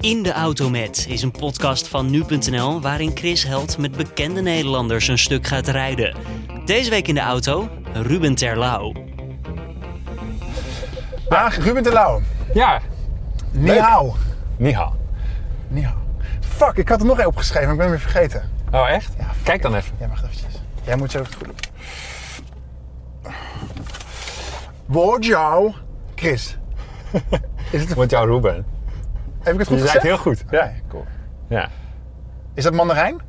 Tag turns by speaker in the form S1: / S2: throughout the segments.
S1: In de Auto Met is een podcast van nu.nl waarin Chris Held met bekende Nederlanders een stuk gaat rijden. Deze week in de auto Ruben Terlouw.
S2: Ah, Ruben de Lauw.
S3: Ja,
S2: Ni hao.
S3: Niha.
S2: Ni hao. Fuck, ik had er nog één opgeschreven, maar ik ben hem weer vergeten.
S3: Oh, echt? Kijk dan even.
S2: Jij mag eventjes. Jij moet zo het goede. Woord jou, Chris. Is het een...
S3: Want jouw Ruben.
S2: Heb ik het goed
S3: Je zei
S2: gezegd?
S3: het heel goed. Ja.
S2: Nee, cool.
S3: ja.
S2: Is dat mandarijn?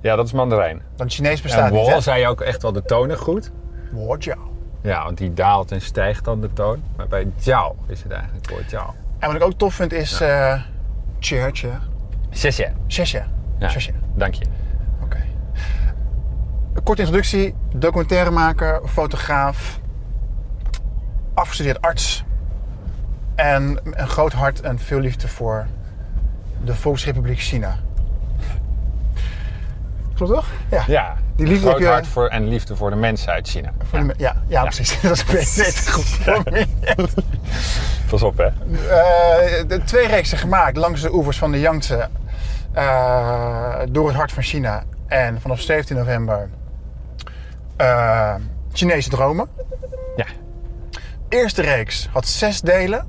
S3: Ja, dat is mandarijn.
S2: Want Chinees bestaat
S3: En
S2: niet,
S3: wall
S2: hè?
S3: zei je ook echt wel de tonen goed.
S2: Woord jou.
S3: Ja, want die daalt en stijgt dan de toon. Maar bij jou is het eigenlijk voor jou.
S2: En wat ik ook tof vind is... eh Tjeertje.
S3: Zesje.
S2: Zesje.
S3: Ja,
S2: Zesje.
S3: dank je.
S2: Oké. Een Korte introductie. Documentairemaker, fotograaf, afgestudeerd arts. En een groot hart en veel liefde voor de Volksrepubliek China. Klopt toch? Ja.
S3: Ja,
S2: Die liefde
S3: groot
S2: heb je-
S3: hart voor en liefde voor de mensen uit China.
S2: Voor de me- ja, ja, precies. Dat is beter goed geformuleerd.
S3: Pas op, hè.
S2: Eh, de twee reeksen gemaakt langs de oevers van de Yangtze. eh, door het hart van China. En vanaf 17 november eh, Chinese dromen.
S3: Ja.
S2: Eerste reeks had zes delen.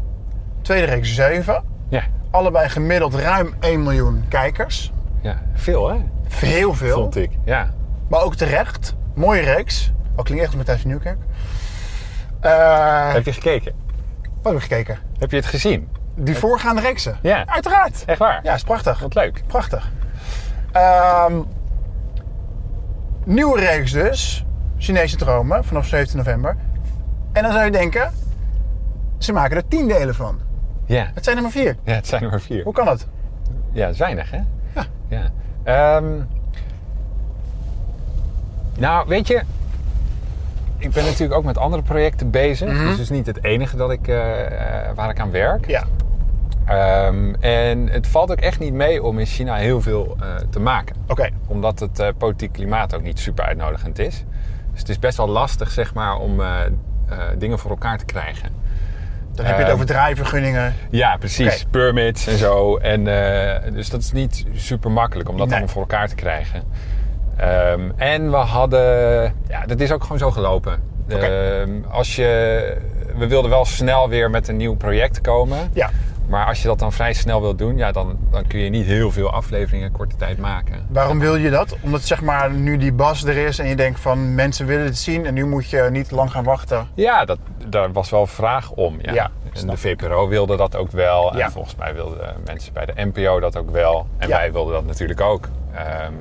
S2: Tweede reeks zeven.
S3: Ja.
S2: Allebei gemiddeld ruim 1 miljoen kijkers.
S3: Ja. Veel, hè?
S2: Heel veel.
S3: Vond ik. Ja.
S2: Maar ook terecht. Mooie reeks. Al klinkt echt als Matthijs van Nieuwkerk. Eh,
S3: Heb je gekeken?
S2: Wat heb ik gekeken?
S3: Heb je het gezien?
S2: Die voorgaande reeksen.
S3: Ja.
S2: Uiteraard.
S3: Echt waar?
S2: Ja, is prachtig.
S3: Wat leuk.
S2: Prachtig. Ehm, nieuwe reeks dus. Chinese dromen vanaf 17 november. En dan zou je denken, ze maken er tien delen van.
S3: Ja.
S2: Het zijn er maar vier.
S3: Ja, het zijn er maar vier.
S2: Hoe kan dat?
S3: Ja, dat is weinig, hè? Ja. Ehm, nou, weet je... Ik ben natuurlijk ook met andere projecten bezig. Dus het is niet het enige dat ik, eh, eh, waar ik aan werk.
S2: Ja.
S3: Ehm, en het valt ook echt niet mee om in China heel veel eh, te maken.
S2: Oké.
S3: Omdat het eh, politiek klimaat ook niet super uitnodigend is. Dus het is best wel lastig, zeg maar, om eh, eh, dingen voor elkaar te krijgen.
S2: Dan heb je het
S3: Ehm,
S2: over draaivergunningen.
S3: Ja, precies.
S2: Oké.
S3: Permits en zo. En, eh, dus dat is niet super makkelijk om dat
S2: Nee.
S3: allemaal voor elkaar te krijgen. Ehm, en we hadden... Ja, dat is ook gewoon zo gelopen.
S2: Oké.
S3: Ehm, als je, we wilden wel snel weer met een nieuw project komen.
S2: Ja.
S3: Maar als je dat dan vrij snel wilt doen... Ja, dan, dan kun je niet heel veel afleveringen in korte tijd maken.
S2: Waarom wil je dat? Omdat zeg maar nu die bas er is en je denkt van mensen willen het zien en nu moet je niet lang gaan wachten.
S3: Ja, dat, daar was wel vraag om. Ja.
S2: Ja,
S3: en
S2: snap
S3: de VPRO wilde dat ook wel.
S2: Ja.
S3: En volgens mij wilden mensen bij de NPO dat ook wel. En
S2: Ja.
S3: wij wilden dat natuurlijk ook. Ehm,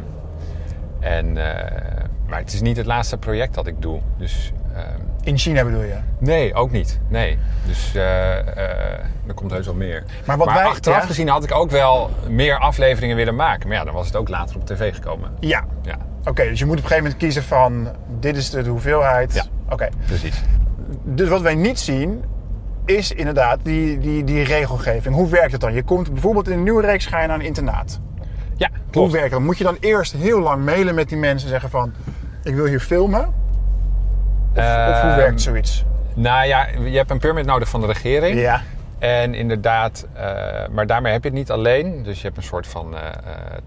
S3: en, eh, maar het is niet het laatste project dat ik doe. Dus ehm,
S2: In China bedoel je?
S3: nee, ook niet. Nee. Dus eh, eh, er komt heus wel meer.
S2: Maar wat wij-
S3: achteraf
S2: ja.
S3: gezien had ik ook wel meer afleveringen willen maken. Maar ja, dan was het ook later op tv gekomen.
S2: Ja.
S3: Ja,
S2: Oké, dus je moet op een gegeven moment kiezen van dit is de hoeveelheid.
S3: Ja.
S2: Oké.
S3: precies.
S2: Dus wat wij niet zien is inderdaad die, die, die regelgeving. Hoe werkt het dan? Je komt bijvoorbeeld in een nieuwe reeks ga je naar een internaat.
S3: Ja,
S2: Hoe
S3: klopt.
S2: werkt dat? Moet je dan eerst heel lang mailen met die mensen en zeggen van ik wil hier filmen? Of, of hoe
S3: Ehm,
S2: werkt zoiets?
S3: Nou ja, je hebt een permit nodig van de regering.
S2: Ja.
S3: En inderdaad, eh, maar daarmee heb je het niet alleen. Dus je hebt een soort van eh, eh,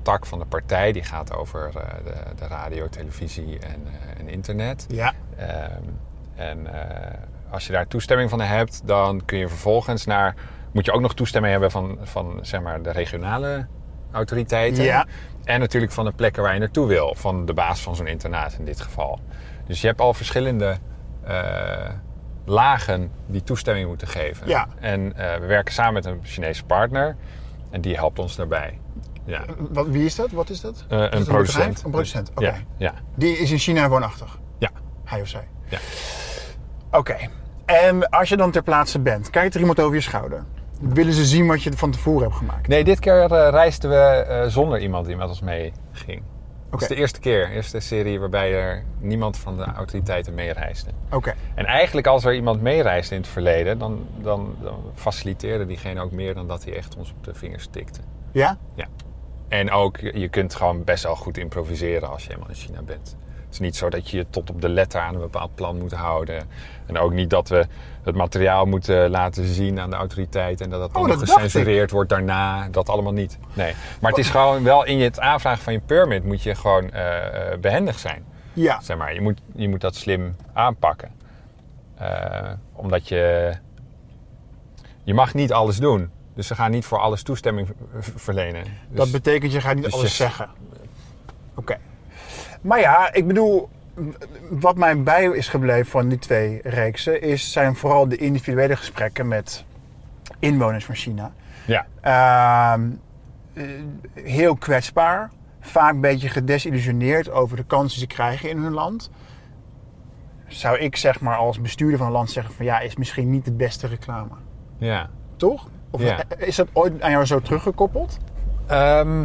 S3: tak van de partij die gaat over eh, de, de radio, televisie en, eh, en internet.
S2: Ja.
S3: Ehm, en eh, als je daar toestemming van hebt, dan kun je vervolgens naar. Moet je ook nog toestemming hebben van, van zeg maar, de regionale autoriteiten.
S2: Ja.
S3: En natuurlijk van de plekken waar je naartoe wil. Van de baas van zo'n internaat in dit geval. Dus je hebt al verschillende eh, lagen die toestemming moeten geven.
S2: Ja.
S3: En eh, we werken samen met een Chinese partner. En die helpt ons daarbij. Ja.
S2: Wat, wie is dat? Wat is dat?
S3: Eh,
S2: Is dat
S3: een producent.
S2: bedrijf? Een producent, oké.
S3: Ja, ja,
S2: Die is in China woonachtig,
S3: ja.
S2: hij of zij.
S3: Ja.
S2: Oké. En als je dan ter plaatse bent, kijkt er iemand over je schouder? Willen ze zien wat je van tevoren hebt gemaakt?
S3: Nee, dit keer eh, reisden we eh, zonder iemand die met ons meeging. Dat
S2: Oké.
S3: is de eerste keer, eerste serie waarbij er niemand van de autoriteiten meereisde.
S2: Oké.
S3: En eigenlijk als er iemand meereisde in het verleden, dan, dan, dan faciliteerde diegene ook meer dan dat hij echt ons op de vingers tikte.
S2: Ja?
S3: Ja. En ook, je je kunt gewoon best wel goed improviseren als je helemaal in China bent. Het is niet zo dat je je tot op de letter aan een bepaald plan moet houden. En ook niet dat we het materiaal moeten laten zien aan de autoriteit en dat dat dan
S2: Oh,
S3: nog
S2: dat dacht
S3: gecensureerd wordt daarna. Dat allemaal niet. Nee. Maar het is gewoon wel in het aanvragen van je permit moet je gewoon eh, eh, behendig zijn.
S2: Ja.
S3: Zeg maar, je moet, je moet dat slim aanpakken. Eh, omdat je... Je mag niet alles doen. Dus ze gaan niet voor alles toestemming v- verlenen. Dus-
S2: Dat betekent, je gaat niet
S3: dus
S2: alles
S3: je-
S2: zeggen. Oké. Maar ja, ik bedoel, wat mij bij is gebleven van die twee reeksen, is, zijn vooral de individuele gesprekken met inwoners van China.
S3: Ja,
S2: Ehm, eh, heel kwetsbaar, vaak een beetje gedesillusioneerd over de kansen die ze krijgen in hun land. Zou ik zeg maar als bestuurder van een land zeggen van ja, is misschien niet de beste reclame.
S3: ja.
S2: Toch? Of
S3: Ja.
S2: is dat ooit aan jou zo teruggekoppeld?
S3: Ehm,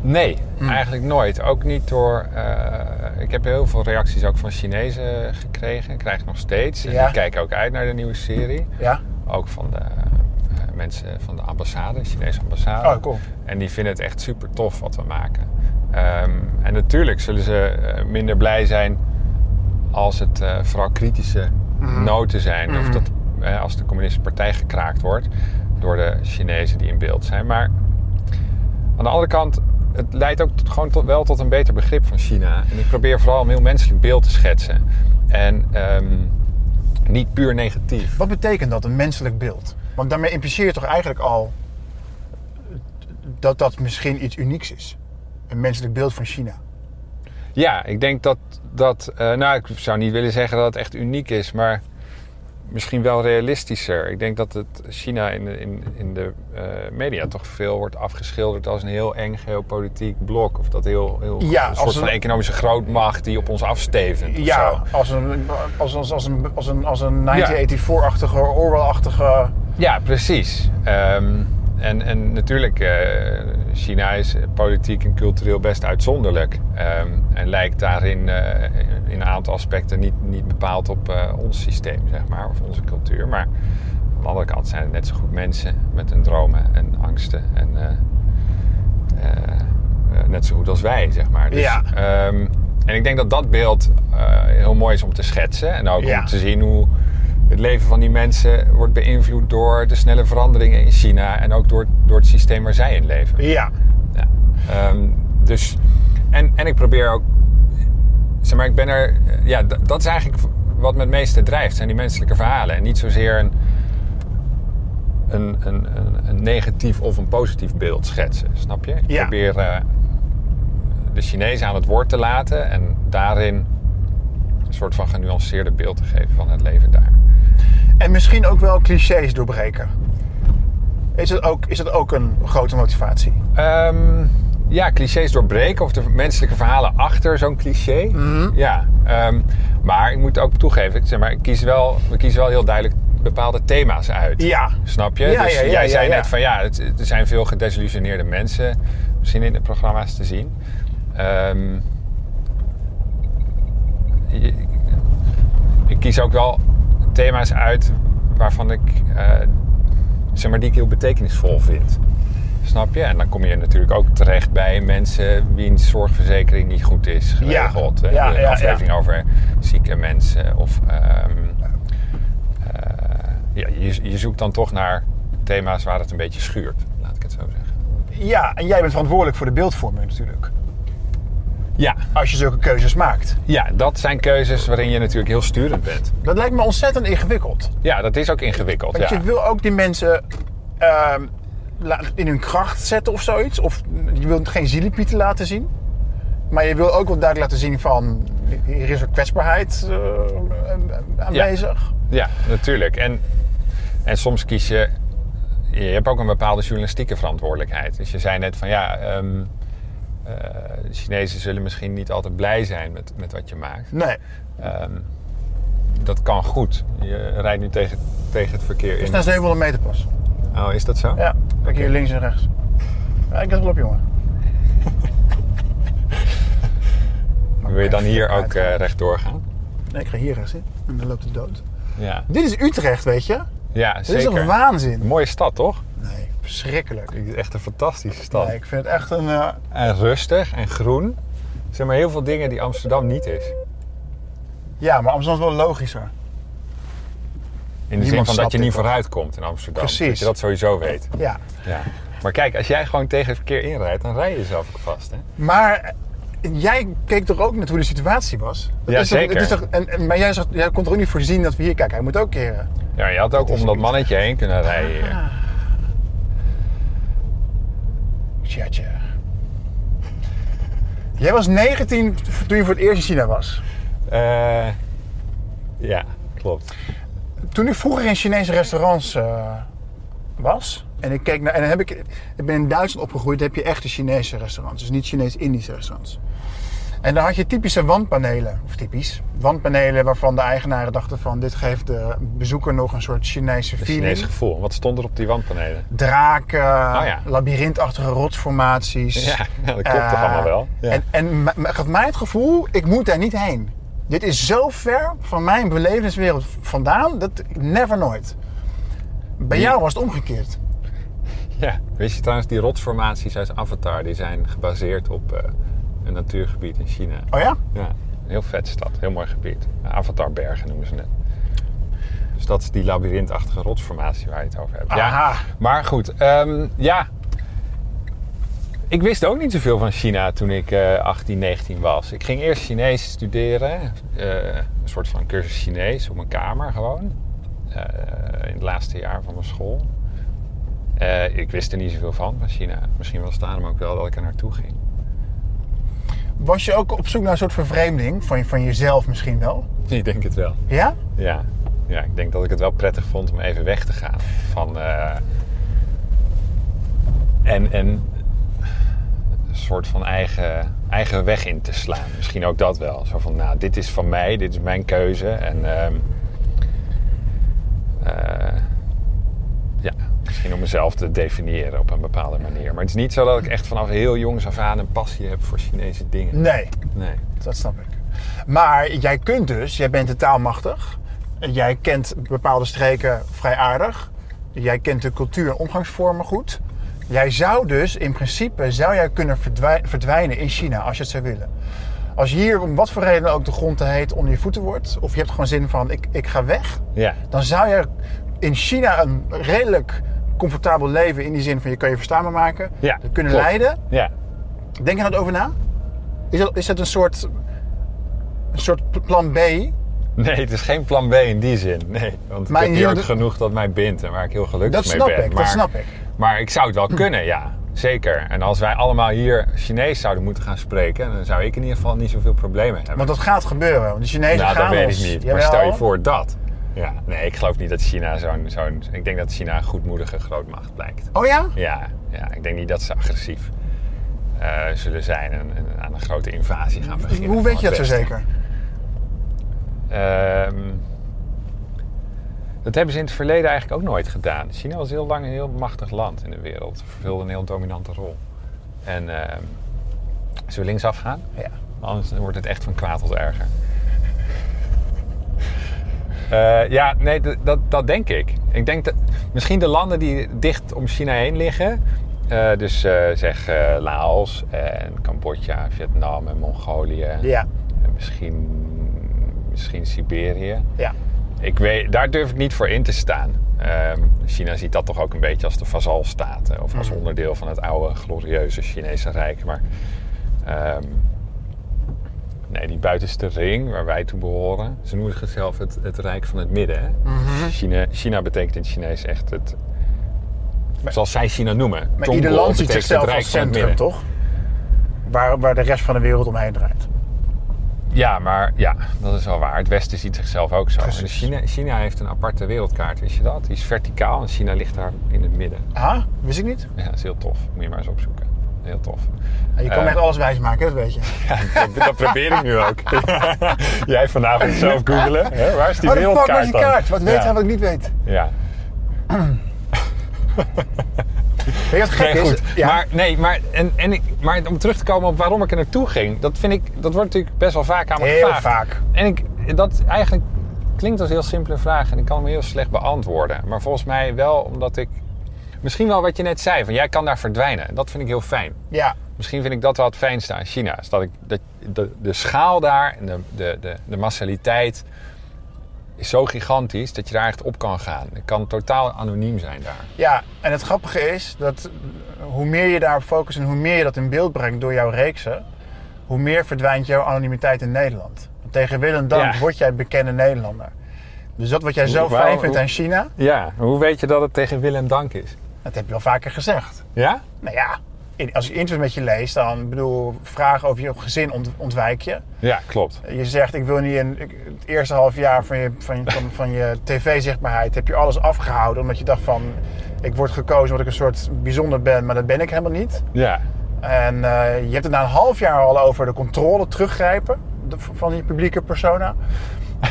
S3: nee,
S2: Hm.
S3: eigenlijk nooit. Ook niet door. eh, ik heb heel veel reacties ook van Chinezen gekregen. Ik krijg nog steeds. En
S2: Ja.
S3: die kijken ook uit naar de nieuwe serie.
S2: Ja.
S3: Ook van de eh, mensen van de ambassade, de Chinese ambassade.
S2: Oh, cool.
S3: En die vinden het echt super tof wat we maken. Ehm, en natuurlijk zullen ze eh, minder blij zijn als het eh, vooral kritische
S2: Mhm.
S3: noten zijn. Of dat, eh, als de communistische partij gekraakt wordt door de Chinezen die in beeld zijn. Maar aan de andere kant, het leidt ook tot- gewoon tot, wel tot een beter begrip van China. En ik probeer vooral een heel menselijk beeld te schetsen. En ehm, niet puur negatief.
S2: Wat betekent dat, een menselijk beeld? Want daarmee impliceer je toch eigenlijk al dat dat misschien iets unieks is. Een menselijk beeld van China.
S3: Ja, ik denk dat dat. eh, nou, ik zou niet willen zeggen dat het echt uniek is, maar misschien wel realistischer. Ik denk dat het China in de, in, in de eh, media toch veel wordt afgeschilderd als een heel eng geopolitiek blok. Of dat heel. heel
S2: Ja,
S3: een
S2: als
S3: soort van
S2: een-
S3: economische grootmacht die op ons afstevent. of zo.
S2: Ja, als een, als, als, als een, als een, als een 1984-achtige, Orwell-achtige...
S3: Ja, precies. Ehm, en, en natuurlijk, eh, China is politiek en cultureel best uitzonderlijk. Ehm, en lijkt daarin eh, in een aantal aspecten niet, niet bepaald op eh, ons systeem, zeg maar, of onze cultuur. Maar aan de andere kant zijn het net zo goed mensen met hun dromen en angsten. En eh, eh, eh, net zo goed als wij, zeg maar. Dus,
S2: Ja.
S3: ehm, en ik denk dat dat beeld eh, heel mooi is om te schetsen. En ook
S2: Ja.
S3: om te zien hoe het leven van die mensen wordt beïnvloed door de snelle veranderingen in China. En ook door, door het systeem waar zij in leven.
S2: Ja.
S3: Ja. Ehm, dus, en, en ik probeer ook. Zeg maar, ik ben er. eh, Ja, d- dat is eigenlijk wat me het meeste drijft: zijn die menselijke verhalen. En niet zozeer een, een, een, een, een negatief of een positief beeld schetsen. Snap je? Ik
S2: Ja.
S3: probeer eh, de Chinezen aan het woord te laten en daarin een soort van genuanceerder beeld te geven van het leven daar.
S2: En misschien ook wel clichés doorbreken. Is dat ook, is dat ook een grote motivatie?
S3: Ehm, ja, clichés doorbreken of de menselijke verhalen achter zo'n cliché.
S2: Mhm.
S3: Ja, ehm, maar ik moet ook toegeven, ik zeg maar, ik kies wel, we kiezen wel heel duidelijk bepaalde thema's uit.
S2: Ja.
S3: Snap je?
S2: Ja,
S3: dus
S2: ja, ja,
S3: jij
S2: ja,
S3: zei
S2: ja.
S3: net van ja, het, het- er zijn veel gedesillusioneerde mensen misschien in de programma's te zien. Ehm, je- ik kies ook wel thema's uit waarvan ik, eh, zeg maar, die ik heel betekenisvol vind. Snap je? En dan kom je natuurlijk ook terecht bij mensen wiens zorgverzekering niet goed is geregeld.
S2: Ja,
S3: We hebben
S2: ja,
S3: een aflevering
S2: ja.
S3: over zieke mensen. Of ehm, eh, ja, je, je zoekt dan toch naar thema's waar het een beetje schuurt, laat ik het zo zeggen.
S2: Ja, en jij bent verantwoordelijk voor de beeldvorming natuurlijk.
S3: Ja,
S2: Als je zulke keuzes maakt.
S3: ja, dat zijn keuzes waarin je natuurlijk heel sturend bent.
S2: Dat lijkt me ontzettend ingewikkeld.
S3: Ja, dat is ook ingewikkeld.
S2: Want
S3: ja.
S2: je wil ook die mensen ehm, la- in hun kracht zetten of zoiets. Of je wilt geen zielepieten laten zien. Maar je wil ook wel duidelijk laten zien van... hier is er kwetsbaarheid eh, aanwezig.
S3: Ja, natuurlijk. En, en soms kies je... Je hebt ook een bepaalde journalistieke verantwoordelijkheid. Dus je zei net van ja, ehm, eh, de Chinezen zullen misschien niet altijd blij zijn met, met wat je maakt.
S2: Nee.
S3: Ehm, dat kan goed. Je rijdt nu tegen, tegen het verkeer
S2: Het
S3: in.
S2: is Dus naar 700 meter pas.
S3: Oh, is dat zo?
S2: Ja, kijk hier links en rechts. Ja, ik let wel op, jongen.
S3: Wil je dan hier ook eh rechtdoor gaan?
S2: Nee, ik ga hier rechts in. En dan loopt het dood.
S3: Ja,
S2: Dit is Utrecht, weet je?
S3: ja
S2: Dit
S3: zeker.
S2: is toch waanzin?
S3: Een mooie stad, toch?
S2: Nee. verschrikkelijk.
S3: Het is echt een fantastische stad.
S2: Nee, ik vind het echt een... eh,
S3: En rustig en groen. Er zijn maar heel veel dingen die Amsterdam niet is.
S2: ja, maar Amsterdam is wel logischer.
S3: In de
S2: Niemand
S3: zin van
S2: snapt
S3: dat je
S2: dit
S3: niet
S2: toch?
S3: vooruit komt in Amsterdam.
S2: Precies.
S3: Dat je dat sowieso weet.
S2: Ja.
S3: Ja. Maar kijk, als jij gewoon tegen het verkeer inrijdt, dan rij je jezelf ook vast. Hè?
S2: Maar eh, jij keek toch ook net hoe de situatie was? Dat
S3: Ja,
S2: is toch- het
S3: zeker.
S2: is toch- en, en- maar jij, zag, jij kon toch ook niet voorzien dat we hier kijken. Hij moet ook keren.
S3: Ja, je had ook
S2: is Ah.
S3: om dat
S2: niet-
S3: mannetje heen kunnen rijden. hier.
S2: Tjatje. Jij was 19 toen je voor het eerst in China was.
S3: Eh, ja, klopt.
S2: Toen ik vroeger in Chinese restaurants eh, was en ik keek naar. En dan heb ik, ik ben in Duitsland opgegroeid, heb je echte Chinese restaurants. Dus niet Chinees-Indische restaurants. En dan had je typische wandpanelen, of typisch, wandpanelen waarvan de eigenaren dachten van dit geeft de bezoeker nog een soort Chinese
S3: Een
S2: feeling.
S3: Chinees gevoel. Wat stond er op die wandpanelen?
S2: Draken,
S3: Oh ja.
S2: labyrintachtige rotsformaties.
S3: Ja, dat klopt toch
S2: Eh,
S3: allemaal wel? Ja.
S2: En, en ma- ma- gaf mij het gevoel, ik moet daar niet heen. Dit is zo ver van mijn belevingswereld vandaan, dat never nooit. Bij jou was het omgekeerd.
S3: Ja. Wist je trouwens, die rotsformaties uit Avatar, die zijn gebaseerd op eh, een natuurgebied in China.
S2: Oh ja?
S3: Ja, een heel vet stad. Heel mooi gebied. Avatarbergen noemen ze het. Dus dat is die labyrintachtige rotsformatie waar je het over hebt.
S2: Aha.
S3: Ja, maar goed, ehm, ja. Ik wist ook niet zoveel van China toen ik eh 18, 19 was. Ik ging eerst Chinees studeren. eh, een soort van cursus Chinees op mijn kamer gewoon. eh, in het laatste jaar van mijn school. Eh, ik wist er niet zoveel van, van China. Misschien was het daarom ook wel dat ik er naartoe ging.
S2: Was je ook op zoek naar een soort vervreemding van, je- van jezelf misschien wel?
S3: Ik denk het wel.
S2: Ja?
S3: Ja. ja, ik denk dat ik het wel prettig vond om even weg te gaan. Van, eh, en, en een soort van eigen, eigen weg in te slaan. Misschien ook dat wel. Zo van, nou, dit is van mij, dit is mijn keuze. En ehm, eh, ja, misschien om mezelf te definiëren op een bepaalde manier. Maar het is niet zo dat ik echt vanaf heel jongs af aan een passie heb voor Chinese dingen.
S2: Nee,
S3: Nee.
S2: dat snap ik. Maar jij kunt dus, jij bent de taalmachtig. Jij kent bepaalde streken vrij aardig. Jij kent de cultuur en omgangsvormen goed. Jij zou dus, in principe, zou jij kunnen verdwij- verdwijnen in China als je het zou willen. Als je hier om wat voor reden ook de grond te heet onder je voeten wordt... of je hebt gewoon zin van, ik, ik ga weg...
S3: Ja.
S2: dan zou je in China een redelijk comfortabel leven... in die zin van, je kan je verstaanbaar maken,
S3: ja
S2: kunnen
S3: klopt.
S2: leiden...
S3: Ja,
S2: Denk je daar over na? Is dat, is dat een, soort, een soort plan B?
S3: Nee, het is geen plan B in die zin. Nee, want
S2: Maar
S3: ik
S2: in
S3: heb hier ook
S2: ieder-
S3: genoeg dat mij bindt en waar ik heel gelukkig
S2: Dat
S3: mee
S2: snap
S3: ben.
S2: ik, dat snap ik.
S3: Maar ik zou het wel kunnen, ja. Zeker. En als wij allemaal hier Chinees zouden moeten gaan spreken, dan zou ik in ieder geval niet zoveel problemen hebben.
S2: Want dat gaat gebeuren. Want de Chinezen
S3: nou, dat
S2: gaan
S3: weet
S2: ons.
S3: ik niet. Maar
S2: Jawel.
S3: stel je voor dat. Ja, nee, ik geloof niet dat China zo'n... zo'n. ik denk dat China een goedmoedige grootmacht blijkt.
S2: Oh ja?
S3: Ja, ja ik denk niet dat ze agressief eh, zullen zijn en, en aan een grote invasie gaan beginnen.
S2: Hoe
S3: van
S2: weet je dat
S3: het
S2: zo
S3: Westen.
S2: zeker?
S3: Ehm, dat hebben ze in het verleden eigenlijk ook nooit gedaan. China was heel lang een heel machtig land in de wereld. Vervulde een heel dominante rol. En ehm zullen we linksaf gaan?
S2: Ja.
S3: Anders wordt het echt van kwaad tot erger. Eh, ja, nee, d- dat, dat denk ik. Ik denk dat misschien de landen die dicht om China heen liggen. eh, dus eh, zeg eh, Laos en Cambodja, Vietnam en Mongolië.
S2: Ja.
S3: En Eh, misschien, misschien Siberië.
S2: Ja.
S3: Ik weet, daar durf ik niet voor in te staan. Ehm, China ziet dat toch ook een beetje als de vazalstaat. hè, Of als
S2: Mm.
S3: onderdeel van het oude, glorieuze Chinese Rijk. Maar ehm, nee, die buitenste ring waar wij toe behoren. Ze noemen zichzelf het, het Rijk van het Midden. Hè?
S2: Mhm.
S3: China, China betekent in het Chinees echt het... zoals zij China noemen.
S2: Maar
S3: Tongbo
S2: ieder land ziet
S3: betekent
S2: zichzelf
S3: het Rijk
S2: als
S3: van het
S2: centrum,
S3: Midden.
S2: toch? Waar, waar de rest van de wereld omheen draait.
S3: Ja, maar ja, dat is wel waar. Het Westen ziet zichzelf ook zo.
S2: Precies.
S3: En China, China heeft een aparte wereldkaart, wist je dat? Die is verticaal en China ligt daar in het midden.
S2: Ah, wist ik niet.
S3: Ja, dat is heel tof. Moet je maar eens opzoeken. Heel tof.
S2: Je kan
S3: Eh.
S2: echt alles wijsmaken, dat weet je.
S3: dat, dat probeer ik nu ook. Jij vanavond zelf googelen. Hè? Oh, Waar is die
S2: Waar de fuck
S3: wereldkaart
S2: was die
S3: dan?
S2: kaart? Wat weet
S3: ja.
S2: hij wat ik niet weet?
S3: Ja.
S2: Weet je wat gek
S3: Nee,
S2: is?
S3: goed.
S2: Ja.
S3: Maar, nee, maar, en, en ik, maar om terug te komen op waarom ik er naartoe ging. Dat, vind ik, dat wordt natuurlijk best wel vaak aan me
S2: Heel
S3: gevraagd.
S2: vaak.
S3: En ik, dat eigenlijk klinkt als een heel simpele vraag. En ik kan hem heel slecht beantwoorden. Maar volgens mij wel omdat ik Misschien wel wat je net zei, van jij kan daar verdwijnen. En dat vind ik heel fijn.
S2: Ja,
S3: Misschien vind ik dat wel het fijnste aan China. Is dat ik, dat, de, de schaal daar en de, de, de, de massaliteit is zo gigantisch dat je daar echt op kan gaan. Ik kan totaal anoniem zijn daar.
S2: ja, en het grappige is dat eh, hoe meer je daarop focust en hoe meer je dat in beeld brengt door jouw reeksen, hoe meer verdwijnt jouw anonimiteit in Nederland. Want Tegen wil en dank
S3: Ja.
S2: word jij bekende Nederlander. Dus dat wat jij zo
S3: Hoe-
S2: fijn
S3: hoe-
S2: vindt aan China,
S3: Ja, hoe weet je dat het tegen wil en dank is?
S2: dat heb je al vaker gezegd.
S3: Ja?
S2: Nou ja, in- als ik interviews met je lees, dan bedoel, vragen over je gezin ont- ontwijk je.
S3: Ja, klopt.
S2: Je zegt, ik wil niet in ik- het eerste half jaar van je, van, van, van je tv-zichtbaarheid heb je alles afgehouden. Omdat je dacht van, ik word gekozen omdat ik een soort bijzonder ben, maar dat ben ik helemaal niet.
S3: Ja.
S2: En eh, je hebt het na een half jaar al over de controle teruggrijpen de- van je publieke persona.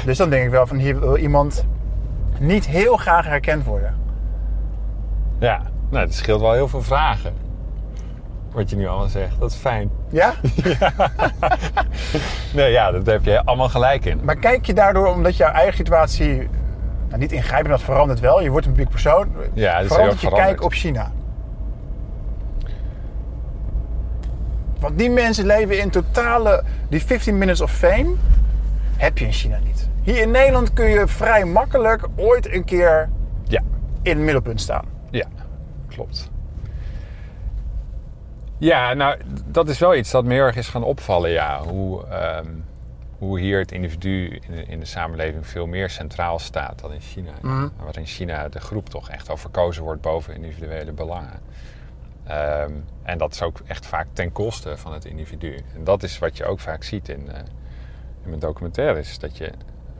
S2: Dus dan denk ik wel van, hier wil iemand niet heel graag herkend worden.
S3: Ja. Nou, dat scheelt wel heel veel vragen. Wat je nu allemaal zegt. Dat is fijn.
S2: Ja?
S3: Nee, ja, dat heb je allemaal gelijk in.
S2: Maar kijk je daardoor, omdat jouw eigen situatie nou, niet ingrijpend, dat verandert wel. Je wordt een publiek persoon.
S3: Ja, dat is heel erg
S2: verandert je
S3: veranderd.
S2: kijk op China. Want die mensen leven in totale... Die 15 minutes of fame heb je in China niet. Hier in Nederland kun je vrij makkelijk ooit een keer
S3: Ja.
S2: in het middelpunt staan.
S3: Ja, klopt. Ja, nou, dat is wel iets dat me heel erg is gaan opvallen, ja. Hoe, ehm, hoe hier het individu in de, in de samenleving veel meer centraal staat dan in China. Waar in China de groep toch echt al verkozen wordt boven individuele belangen. Ehm, en dat is ook echt vaak ten koste van het individu. En dat is wat je ook vaak ziet in, eh, in mijn documentaires. Dat je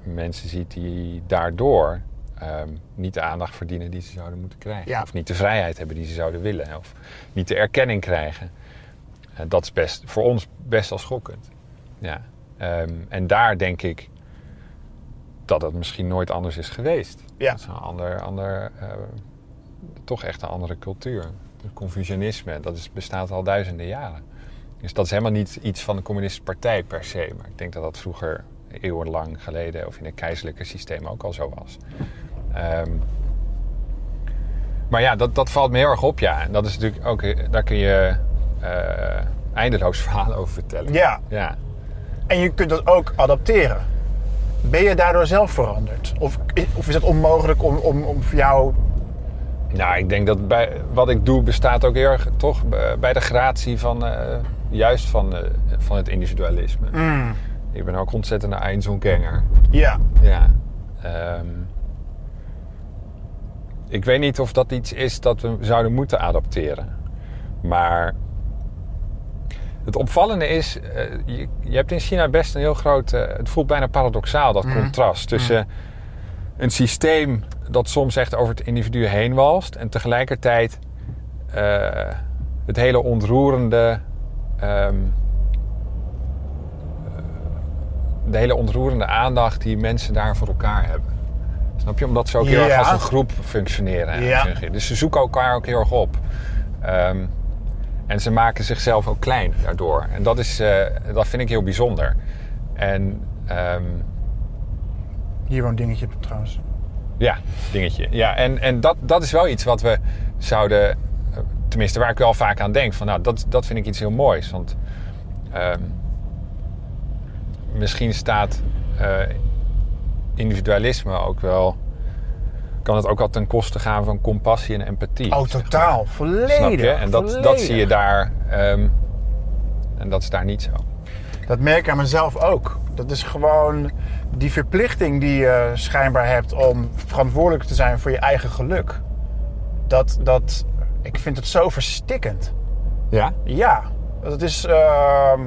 S3: mensen ziet die daardoor ehm, niet de aandacht verdienen die ze zouden moeten krijgen.
S2: Ja.
S3: Of niet de vrijheid hebben die ze zouden willen. Of niet de erkenning krijgen. Eh, dat is best, voor ons best wel schokkend. Ja. Ehm, en daar denk ik dat het misschien nooit anders is geweest.
S2: Ja.
S3: Dat is een ander, ander eh, toch echt een andere cultuur. Het Confucianisme, dat is, bestaat al duizenden jaren. Dus dat is helemaal niet iets van de communistische partij per se. Maar ik denk dat dat vroeger eeuwenlang geleden of in het keizerlijke systeem ook al zo was. Ehm, maar ja, dat, dat valt me heel erg op, ja. En dat is natuurlijk ook, eh, daar kun je eh, eindeloos verhalen over vertellen.
S2: Ja.
S3: Ja.
S2: En je kunt dat ook adapteren. Ben je daardoor zelf veranderd? Of, of is het onmogelijk om, om, om voor jou...
S3: Nou, ik denk dat bij, wat ik doe bestaat ook heel erg toch eh, bij de gratie van eh, juist van, eh, van het individualisme.
S2: Mm.
S3: Ik ben ook ontzettend een Einzelganger.
S2: Ja,
S3: Ja. Ehm, ik weet niet of dat iets is dat we zouden moeten adapteren. Maar het opvallende is, eh, je, je hebt in China best een heel groot... eh, het voelt bijna paradoxaal, dat contrast tussen een systeem dat soms echt over het individu heen walst... en tegelijkertijd eh, het hele ontroerende... ehm, eh, de hele ontroerende aandacht die mensen daar voor elkaar hebben. Snap je? Omdat ze ook heel
S2: Ja.
S3: erg als een groep functioneren. en
S2: Ja.
S3: fungeren. Dus ze zoeken elkaar ook heel erg op. Ehm, en ze maken zichzelf ook klein daardoor. En dat, is, eh, dat vind ik heel bijzonder. En ehm,
S2: hier woont dingetje op trouwens.
S3: ja, dingetje. Ja, en, en dat, dat is wel iets wat we zouden... eh, Tenminste, waar ik wel vaak aan denk. Van, nou, dat, dat vind ik iets heel moois. Want ehm, misschien staat eh, individualisme ook wel... Kan het ook al ten koste gaan van compassie en empathie.
S2: Oh, totaal. Volledig.
S3: Snap je? En dat, dat
S2: volledig.
S3: zie je daar... ehm, en dat is daar niet zo.
S2: Dat merk ik aan mezelf ook. Dat is gewoon die verplichting die je schijnbaar hebt om verantwoordelijk te zijn voor je eigen geluk. Dat, dat, ik vind het zo verstikkend.
S3: Ja?
S2: Ja, dat is. ehm,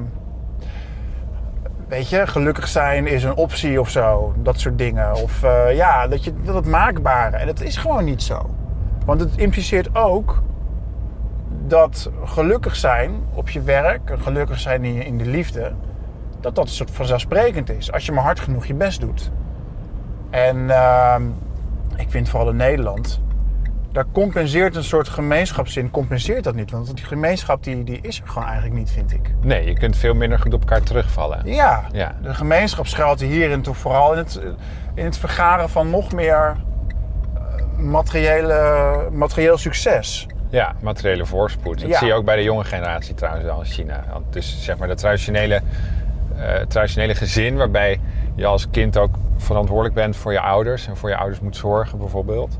S2: weet je, gelukkig zijn is een optie of zo. Dat soort dingen. Of eh, ja, dat, je, dat het maakbare. En dat is gewoon niet zo. Want het impliceert ook dat gelukkig zijn op je werk, en gelukkig zijn in, je- in de liefde, dat dat een soort vanzelfsprekend is. Als je maar hard genoeg je best doet. En ehm, ik vind vooral in Nederland, daar compenseert een soort gemeenschapszin, compenseert dat niet. Want die gemeenschap die, die is er gewoon eigenlijk niet, vind ik.
S3: Nee, je kunt veel minder goed op elkaar terugvallen.
S2: Ja,
S3: Ja.
S2: de gemeenschap schuilt hierin toch vooral in het, in het vergaren van nog meer eh, materiële, materieel succes.
S3: Ja, materiële voorspoed. Dat
S2: Ja.
S3: zie je ook bij de jonge generatie trouwens al in China. Want dus zeg maar dat traditionele, eh, traditionele gezin waarbij je als kind ook verantwoordelijk bent voor je ouders en voor je ouders moet zorgen bijvoorbeeld.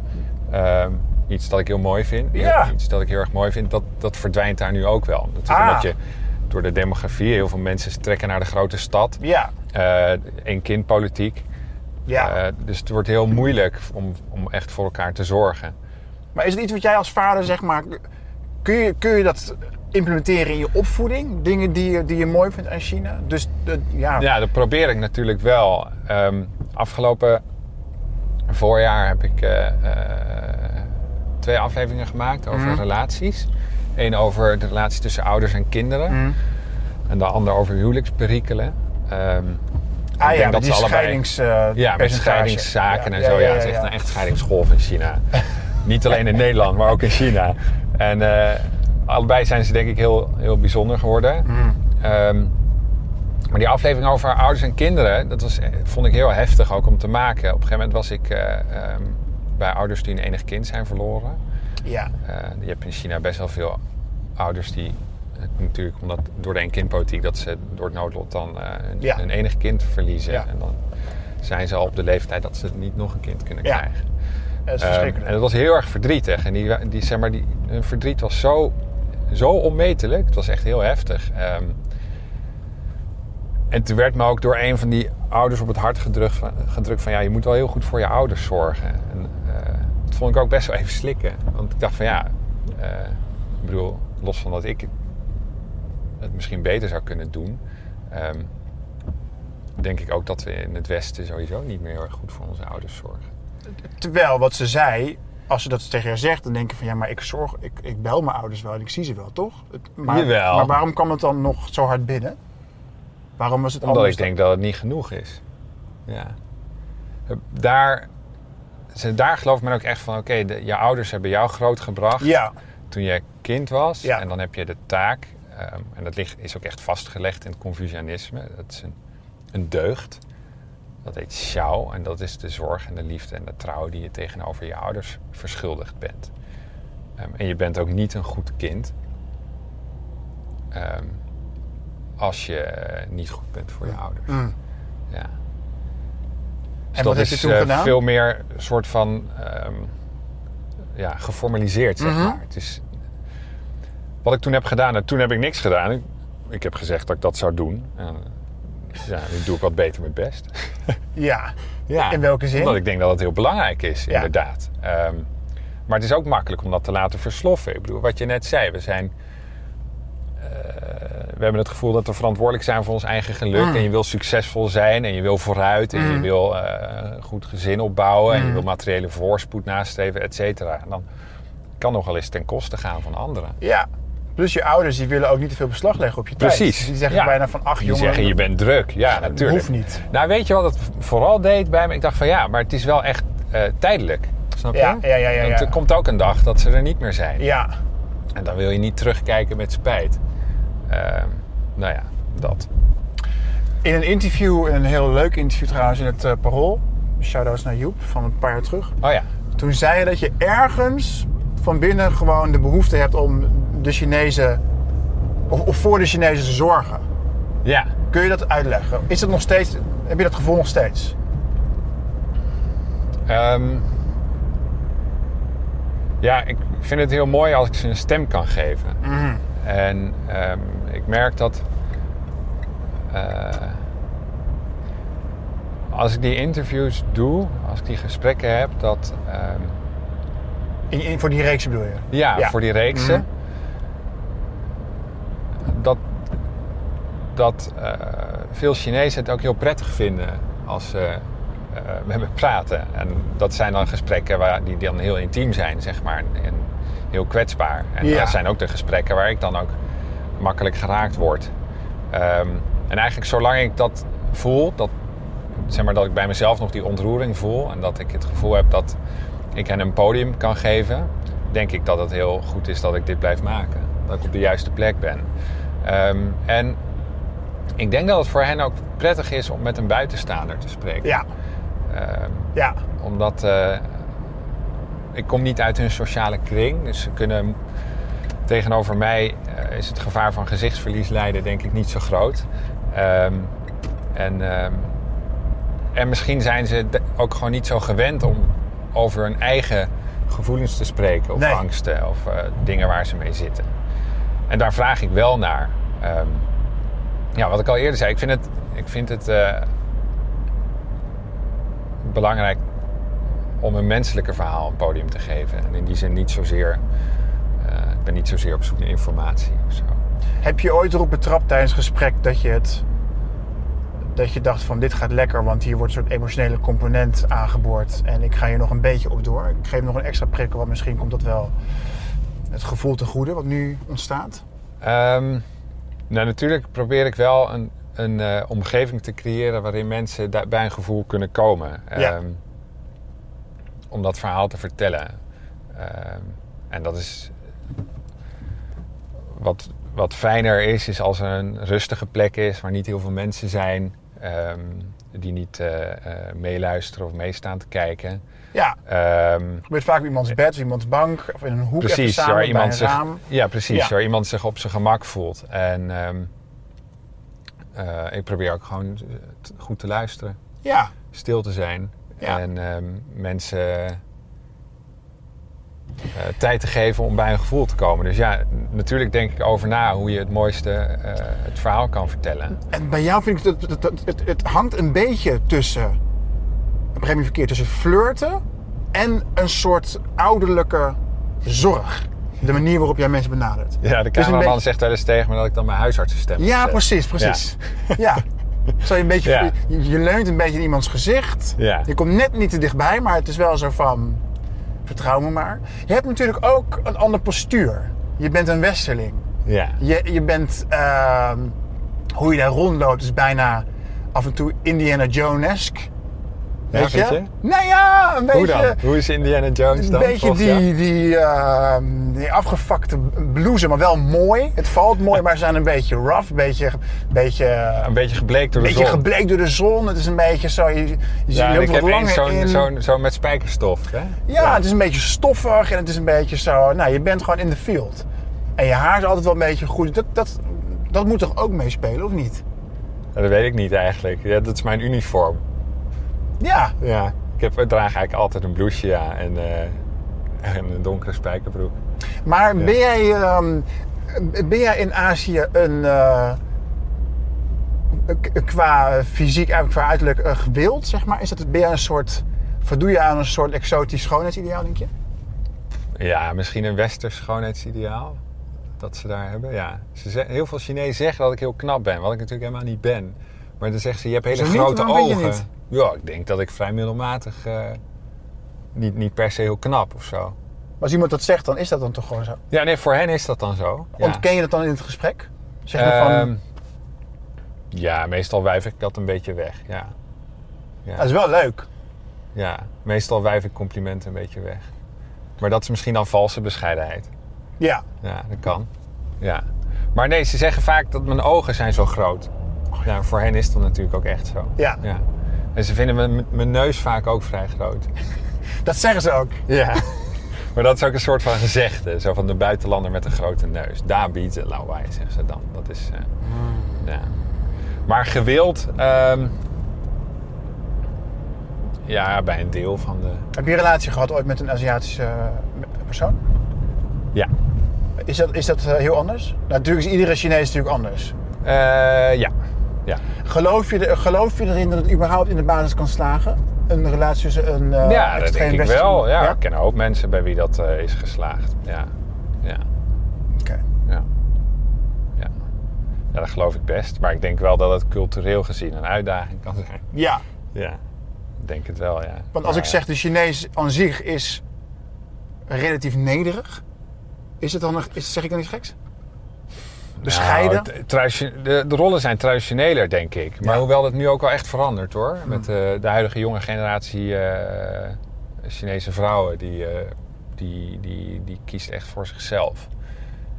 S3: Ehm, iets dat ik heel mooi vind.
S2: Ja.
S3: Iets dat ik heel erg mooi vind. Dat, dat verdwijnt daar nu ook wel. Dat
S2: Ah.
S3: omdat je door de demografie heel veel mensen trekken naar de grote stad.
S2: Ja,
S3: Eén kind politiek.
S2: ja.
S3: Eh, dus het wordt heel moeilijk om, om echt voor elkaar te zorgen.
S2: Maar is het iets wat jij als vader, zeg maar, kun je, kun je dat implementeren in je opvoeding? Dingen die je, die je mooi vindt aan China? Dus de- ja.
S3: Ja, dat probeer ik natuurlijk wel. Ehm, afgelopen voorjaar heb ik eh, eh, twee afleveringen gemaakt over
S2: Mhm.
S3: relaties. Eén over de relatie tussen ouders en kinderen.
S2: Mhm.
S3: En de ander over huwelijksperikelen. Ehm,
S2: ah
S3: ik
S2: ja,
S3: denk
S2: met
S3: dat
S2: die
S3: ze allebei-
S2: scheidings, eh,
S3: ja, met scheidingszaken en zo. Ja, het is echt een echt scheidingsgolf in China. Niet alleen in Nederland, maar ook in China. En eh, allebei zijn ze denk ik heel, heel bijzonder geworden. Ehm, maar die aflevering over ouders en kinderen, dat was, eh, vond ik heel heftig ook om te maken. Op een gegeven moment was ik eh, ehm, bij ouders die een enig kind zijn verloren.
S2: Ja,
S3: Eh, je hebt in China best wel veel ouders die eh, natuurlijk omdat door de eenkindpolitiek dat ze door het noodlot dan eh hun,
S2: Ja.
S3: hun enig kind verliezen.
S2: Ja.
S3: En dan zijn ze al op de leeftijd dat ze niet nog een kind kunnen
S2: Ja.
S3: krijgen.
S2: dat is
S3: Ehm,
S2: verschrikkelijk.
S3: en dat was heel erg verdrietig. En die, die, zeg maar, die, hun verdriet was zo, zo onmetelijk. Het was echt heel heftig. Ehm, en toen werd me ook door een van die ouders op het hart gedrukt van, gedrukt van ja, je moet wel heel goed voor je ouders zorgen. En eh, dat vond ik ook best wel even slikken. Want ik dacht van ja, eh, ik bedoel, los van dat ik het misschien beter zou kunnen doen, ehm, denk ik ook dat we in het Westen sowieso niet meer heel erg goed voor onze ouders zorgen.
S2: Terwijl wat ze zei, als ze dat tegen haar zegt, dan denk je van ja, maar ik zorg, ik, ik bel mijn ouders wel en ik zie ze wel, toch? Het- Maar,
S3: Jawel.
S2: maar waarom kwam het dan nog zo hard binnen? Waarom was het
S3: Omdat
S2: anders?
S3: ik denk dat het niet genoeg is. Ja. Daar, ze, daar gelooft men ook echt van... oké, de- je ouders hebben jou grootgebracht
S2: dan- Ja,
S3: toen je kind was.
S2: Ja.
S3: En dan heb je de taak... ehm, en dat ligt, is ook echt vastgelegd in het Confucianisme. Dat is een, een deugd. Dat heet xiao. En dat is de zorg en de liefde en de trouw... die je tegenover je ouders verschuldigd bent. Ehm, en je bent ook niet een goed kind... ehm, als je eh, niet goed bent voor je ouders.
S2: Mm.
S3: Ja. Dus
S2: En
S3: dat
S2: wat heb
S3: is
S2: je toen
S3: eh,
S2: gedaan?
S3: veel meer een soort van ehm, ja, geformaliseerd, zeg
S2: Mhm.
S3: maar. Het is, wat ik toen heb gedaan, en toen heb ik niks gedaan. Ik, ik heb gezegd dat ik dat zou doen. En, ja, nu doe ik wat beter mijn best.
S2: ja.
S3: Ja,
S2: In welke zin?
S3: Omdat ik denk dat het heel belangrijk is,
S2: Ja.
S3: inderdaad. Ehm, maar het is ook makkelijk om dat te laten versloffen. Ik bedoel, wat je net zei, we zijn... eh, we hebben het gevoel dat we verantwoordelijk zijn voor ons eigen geluk.
S2: Ah.
S3: En je wil succesvol zijn en je wil vooruit. En
S2: Mm.
S3: je wil eh, een goed gezin opbouwen. En je wil materiële voorspoed nastreven, et cetera. En dan kan nogal eens ten koste gaan van anderen.
S2: Ja. Plus je ouders die willen ook niet te veel beslag leggen op je tijd.
S3: Precies.
S2: Dus Die zeggen
S3: ja.
S2: bijna van ach
S3: Die
S2: jongen.
S3: zeggen je bent druk. Ja,
S2: dat
S3: natuurlijk.
S2: hoeft niet.
S3: Nou, weet je wat het vooral deed bij me? Ik dacht van ja, maar het is wel echt eh, tijdelijk. Snap
S2: Ja,
S3: je?
S2: ja, ja, ja,
S3: Want
S2: ja.
S3: er komt ook een dag dat ze er niet meer zijn.
S2: Ja.
S3: En dan wil je niet terugkijken met spijt. Ehm, nou ja, dat.
S2: In een interview, een heel leuk interview trouwens in het eh, Parool. Shoutouts naar Joep van een paar jaar terug.
S3: Oh ja.
S2: Toen zei je dat je ergens van binnen gewoon de behoefte hebt om de Chinezen of, of voor de Chinezen te zorgen.
S3: Ja.
S2: Kun je dat uitleggen? Is dat nog steeds? Heb je dat gevoel nog steeds?
S3: Ehm, ja, ik vind het heel mooi als ik ze een stem kan geven.
S2: Mhm.
S3: En ehm, ik merk dat. eh, als ik die interviews doe, als ik die gesprekken heb, dat. ehm,
S2: In, in- voor die reeks bedoel je?
S3: ja,
S2: Ja.
S3: voor die reeksen. Dat, dat eh, veel Chinezen het ook heel prettig vinden als ze eh, met me praten. En dat zijn dan gesprekken waar, die dan heel intiem zijn, zeg maar. En heel kwetsbaar. En
S2: Ja.
S3: dat zijn ook de gesprekken waar ik dan ook makkelijk geraakt word. Ehm, en eigenlijk zolang ik dat voel, dat, zeg maar, dat ik bij mezelf nog die ontroering voel... en dat ik het gevoel heb dat ik hen een podium kan geven... denk ik dat het heel goed is dat ik dit blijf maken. Dat ik op de juiste plek ben. Ehm, en ik denk dat het voor hen ook prettig is om met een buitenstaander te spreken.
S2: Ja.
S3: Ehm,
S2: Ja.
S3: omdat eh, ik kom niet uit hun sociale kring. Dus ze kunnen tegenover mij eh, is het gevaar van gezichtsverlies lijden denk ik niet zo groot. Ehm, en, ehm, en misschien zijn ze de- ook gewoon niet zo gewend om over hun eigen gevoelens te spreken. Of
S2: Nee.
S3: angsten of eh, dingen waar ze mee zitten. En daar vraag ik wel naar. Ehm, ja, wat ik al eerder zei, ik vind het, ik vind het eh, belangrijk om een menselijker verhaal een podium te geven. En in die zin niet zozeer, eh, ik ben niet zozeer op zoek naar informatie of zo.
S2: Heb je ooit erop betrapt tijdens het gesprek dat je het... Dat je dacht van dit gaat lekker, want hier wordt een soort emotionele component aangeboord. En ik ga hier nog een beetje op door. Ik geef nog een extra prikkel, want misschien komt dat wel het gevoel te goede wat nu ontstaat.
S3: Ehm, nou, natuurlijk probeer ik wel een, een eh, omgeving te creëren waarin mensen da- bij een gevoel kunnen komen.
S2: Ja.
S3: Ehm, Om dat verhaal te vertellen. Ehm, en dat is. Wat, wat fijner is, is als er een rustige plek is waar niet heel veel mensen zijn. ehm, die niet eh, eh, meeluisteren of meestaan te kijken.
S2: Ja,
S3: Ehm,
S2: gebeurt vaak op iemands bed, of iemands bank, of in een hoek even
S3: precies,
S2: samen
S3: waar
S2: bij
S3: iemand
S2: een
S3: zich,
S2: raam.
S3: Ja, precies.
S2: Ja.
S3: Waar iemand zich op zijn gemak voelt. En ehm, eh, ik probeer ook gewoon t- goed te luisteren.
S2: Ja,
S3: Stil te zijn.
S2: Ja.
S3: En ehm, mensen eh, tijd te geven om bij een gevoel te komen. Dus ja, n- natuurlijk denk ik over na hoe je het mooiste eh, het verhaal kan vertellen.
S2: En bij jou vind ik dat dat- dat- het, het, hangt een beetje tussen. Op een gegeven moment verkeerd tussen flirten en een soort ouderlijke zorg. De manier waarop jij mensen benadert.
S3: Ja, de
S2: Dus een
S3: cameraman
S2: beetje-
S3: zegt wel eens tegen me dat ik dan mijn huisartsenstem
S2: Ja,
S3: opzet.
S2: precies, precies. Ja. Zo je, een beetje,
S3: Ja.
S2: je, je leunt een beetje in iemands gezicht.
S3: Ja.
S2: Je komt net niet te dichtbij, maar het is wel zo van... Vertrouw me maar. Je hebt natuurlijk ook een ander postuur. Je bent een westerling.
S3: Ja.
S2: Je, je bent, ehm, hoe je daar rondloopt, is bijna af en toe Indiana Jones-esk.
S3: Ja,
S2: Weet
S3: vind
S2: je?
S3: je?
S2: Nou ja, een beetje.
S3: Hoe dan? Hoe is Indiana Jones
S2: Een
S3: dan?
S2: beetje
S3: volgens jou?
S2: die, die, ehm, die afgevakte blouse, maar wel mooi. Het valt mooi, maar ze zijn een beetje rough, een beetje, een beetje,
S3: Een beetje gebleekt door de
S2: beetje
S3: zon.
S2: gebleekt door de zon. Het is een beetje zo, je, je
S3: Ja, en
S2: loopt
S3: ik
S2: wat
S3: heb eens
S2: langer in.
S3: zo'n zo'n zo met spijkerstof. Hè?
S2: Ja, het is een beetje stoffig en het is een beetje zo. Nou, je bent gewoon in de field. En je haar is altijd wel een beetje goed. Dat, dat, dat moet toch ook meespelen, of niet?
S3: Ja, dat weet ik niet eigenlijk. Ja, dat is mijn uniform.
S2: Ja,
S3: Ja. Ik, heb, ik draag eigenlijk altijd een blouseje ja, en, eh, en een donkere spijkerbroek.
S2: maar ben jij, ehm, ben jij in Azië een. eh, k- qua fysiek, en qua uiterlijk eh, gewild, zeg maar? Is dat, ben jij een soort. Voldoe je aan een soort exotisch schoonheidsideaal, denk je?
S3: Ja, misschien een westers schoonheidsideaal dat ze daar hebben. Ja. Ze ze- heel veel Chinezen zeggen dat ik heel knap ben, wat ik natuurlijk helemaal niet ben. Maar dan zeggen ze, je hebt hele
S2: Zo niet?
S3: grote
S2: Waarom ben
S3: ogen.
S2: je niet?
S3: Ja, ik denk dat ik vrij middelmatig, eh, niet, niet per se heel knap of zo.
S2: Als iemand dat zegt, dan is dat dan toch gewoon zo.
S3: Ja, nee, voor hen is dat dan zo. Ja.
S2: Ontken je dat dan in het gesprek? Zeg maar van.
S3: Ehm, ja, meestal wijf ik dat een beetje weg. Ja.
S2: dat is wel leuk.
S3: ja, meestal wijf ik complimenten een beetje weg. Maar dat is misschien dan valse bescheidenheid.
S2: Ja.
S3: Ja, dat kan. Ja. Maar nee, ze zeggen vaak dat mijn ogen zijn zo groot. Ja, voor hen is dat natuurlijk ook echt zo.
S2: Ja.
S3: ja. En ze vinden mijn, mijn neus vaak ook vrij groot.
S2: Dat zeggen ze ook.
S3: Ja. maar dat is ook een soort van gezegde. Zo van de buitenlander met een grote neus. Daar biedt het lawaai, zeggen ze dan. Dat is... eh,
S2: Hmm.
S3: ja. Maar gewild... ehm, ja, bij een deel van de...
S2: Heb je een relatie gehad ooit met een Aziatische eh, persoon?
S3: Ja.
S2: Is dat, is dat eh, heel anders? Nou, natuurlijk is iedere Chinees natuurlijk anders.
S3: Eh, ja. Ja.
S2: Geloof je, er- geloof je erin dat het überhaupt in de basis kan slagen? Een relatie tussen een eh
S3: ja, dat
S2: extreem
S3: denk ik
S2: westerse-
S3: wel. Ja,
S2: ja?
S3: Ik ken ook mensen bij wie dat eh, is geslaagd. Ja. Ja.
S2: Oké.
S3: Ja. ja. Ja, dat geloof ik best. Maar ik denk wel dat het cultureel gezien een uitdaging kan zijn.
S2: Ja,
S3: Ja. Ik denk het wel, ja.
S2: want als
S3: Maar,
S2: ik zeg de Chinees aan zich is relatief nederig, is het dan nog, is, zeg ik dan iets geks? Bescheiden?
S3: Nou, het- traditio- de, de rollen zijn traditioneler, denk ik. Maar
S2: Ja. Hmm.
S3: hoewel dat nu ook wel echt verandert, hoor. Met eh, de huidige jonge generatie eh, Chinese vrouwen... Die, eh, die, die, die kiest echt voor zichzelf.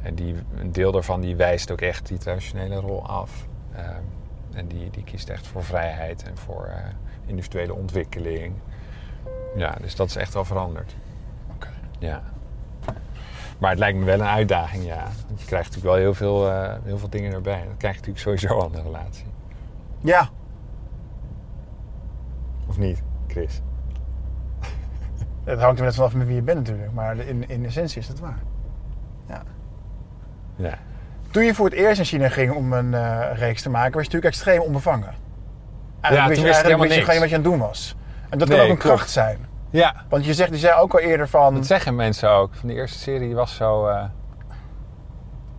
S3: En die, een deel daarvan die wijst ook echt die traditionele rol af. Ehm, en die, die kiest echt voor vrijheid en voor eh, individuele ontwikkeling. Ja, dus dat is echt wel veranderd.
S2: Oké.
S3: Ja. Maar het lijkt me wel een uitdaging, ja. Want je krijgt natuurlijk wel heel veel, eh, heel veel dingen erbij. Dat krijg je natuurlijk sowieso aan de relatie.
S2: Ja,
S3: Of niet, Chris?
S2: dat hangt er net vanaf met wie je bent natuurlijk. Maar in, in essentie is dat waar. Ja.
S3: Ja.
S2: Toen je voor het eerst naar China ging om een eh, reeks te maken, was je natuurlijk extreem onbevangen. Eigenlijk
S3: Ja, toen
S2: wist je
S3: wist ik
S2: eigenlijk
S3: helemaal
S2: wist je
S3: niks.
S2: gewoon niet wat je aan het doen was. En dat
S3: Nee,
S2: kan ook een
S3: klopt.
S2: kracht zijn.
S3: Ja.
S2: Want je zegt, die zei ook al eerder van...
S3: Dat zeggen mensen ook. Van die eerste serie was zo... eh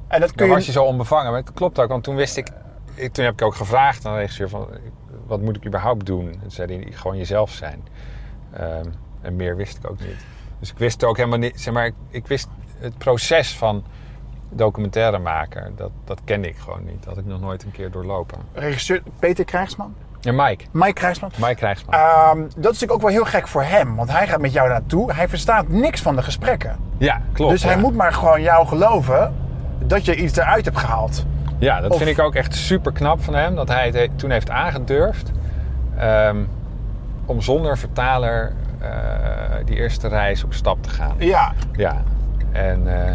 S2: En dat kun
S3: dan
S2: je...
S3: was je zo onbevangen. Maar dat klopt ook, want toen wist ik... ik- Toen heb ik ook gevraagd aan de regisseur van... Wat moet ik überhaupt doen? En toen zei hij, gewoon jezelf zijn. Ehm, en meer wist ik ook niet. Dus ik wist ook helemaal niet... Zeg maar, ik, ik wist het proces van documentairemaker. Dat, dat kende ik gewoon niet. Dat had ik nog nooit een keer doorlopen.
S2: Regisseur Peter Krijgsman?
S3: En Mike.
S2: Mike Krijgsman?
S3: Mike Krijgsman.
S2: Ehm, dat is natuurlijk ook wel heel gek voor hem. Want hij gaat met jou naartoe. Hij verstaat niks van de gesprekken.
S3: ja, klopt.
S2: dus hij
S3: Oh, ja.
S2: moet maar gewoon jou geloven dat je iets eruit hebt gehaald.
S3: Ja, dat
S2: Of-
S3: vind ik ook echt super knap van hem. Dat hij het he- toen heeft aangedurfd. ehm, om zonder vertaler eh, die eerste reis op stap te gaan.
S2: Ja.
S3: Ja. En eh,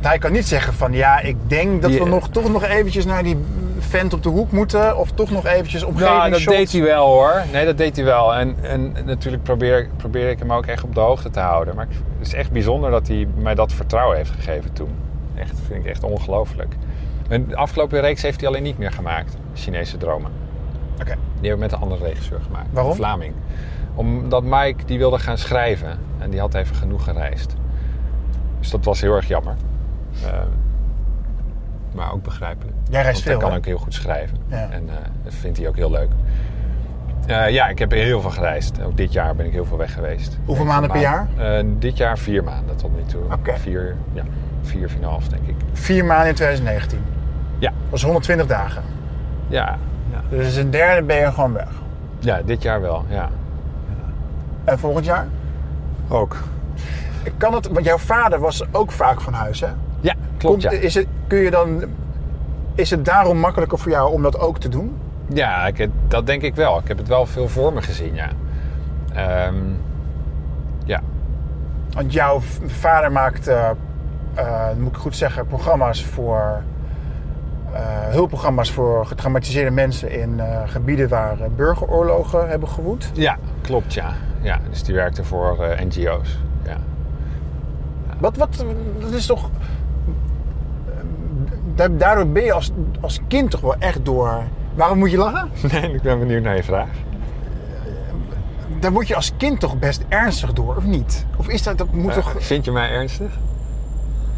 S2: Hij kan niet zeggen van ja, ik denk dat we
S3: Ja.
S2: nog, toch nog eventjes naar die vent op de hoek moeten. Of toch nog eventjes omgeving
S3: nou, dat deed hij wel hoor. Nee, dat deed hij wel. En, en natuurlijk probeer, probeer ik hem ook echt op de hoogte te houden. Maar ik- het is echt bijzonder dat hij mij dat vertrouwen heeft gegeven toen. Echt, vind ik echt ongelooflijk. En de afgelopen reeks heeft hij alleen niet meer gemaakt. Chinese dromen.
S2: Oké.
S3: Die hebben we met een andere regisseur gemaakt.
S2: Waarom?
S3: Een Vlaming. Omdat Mike die wilde gaan schrijven. En die had even genoeg gereisd. Dus dat was heel erg jammer. Ehm, maar ook begrijpelijk.
S2: Jij reist
S3: Want hij
S2: veel,
S3: kan
S2: hè?
S3: ook heel goed schrijven.
S2: Ja.
S3: En eh, dat vindt hij ook heel leuk. Eh, ja, ik heb heel veel gereisd. Ook dit jaar ben ik heel veel weg geweest.
S2: Hoeveel
S3: Heel veel
S2: maanden per
S3: Eh, dit jaar vier maanden tot nu toe.
S2: Oké.
S3: Vier, ja, vier, vier en een half denk ik.
S2: Vier maanden in 2019.
S3: Ja.
S2: Dat was 120 dagen.
S3: Ja. Ja,
S2: Dus een derde ben je gewoon weg.
S3: ja dit jaar wel. Ja.
S2: En volgend jaar?
S3: Ook.
S2: Kan het, want jouw vader was ook vaak van huis, hè?
S3: Ja, klopt
S2: Komt-
S3: ja.
S2: is, het, kun je dan, is het daarom makkelijker voor jou om dat ook te doen?
S3: Ja, ik, dat denk ik wel. Ik heb het wel veel voor me gezien, ja. Ehm, ja,
S2: Want jouw v- vader maakt, eh, eh, moet ik goed zeggen, programma's voor. eh, hulpprogramma's voor getraumatiseerde mensen in eh, gebieden waar eh, burgeroorlogen hebben gewoed.
S3: ja klopt, ja. ja. Dus die werkte voor eh, NGO's. Ja.
S2: Wat, wat, dat is toch. eh, da- Daardoor ben je als, als kind toch wel echt door. Waarom moet je lachen?
S3: Nee, ik ben benieuwd naar je vraag.
S2: Daar word je als kind toch best ernstig door, of niet? Of is dat, dat moet
S3: Eh,
S2: toch
S3: Vind je mij ernstig?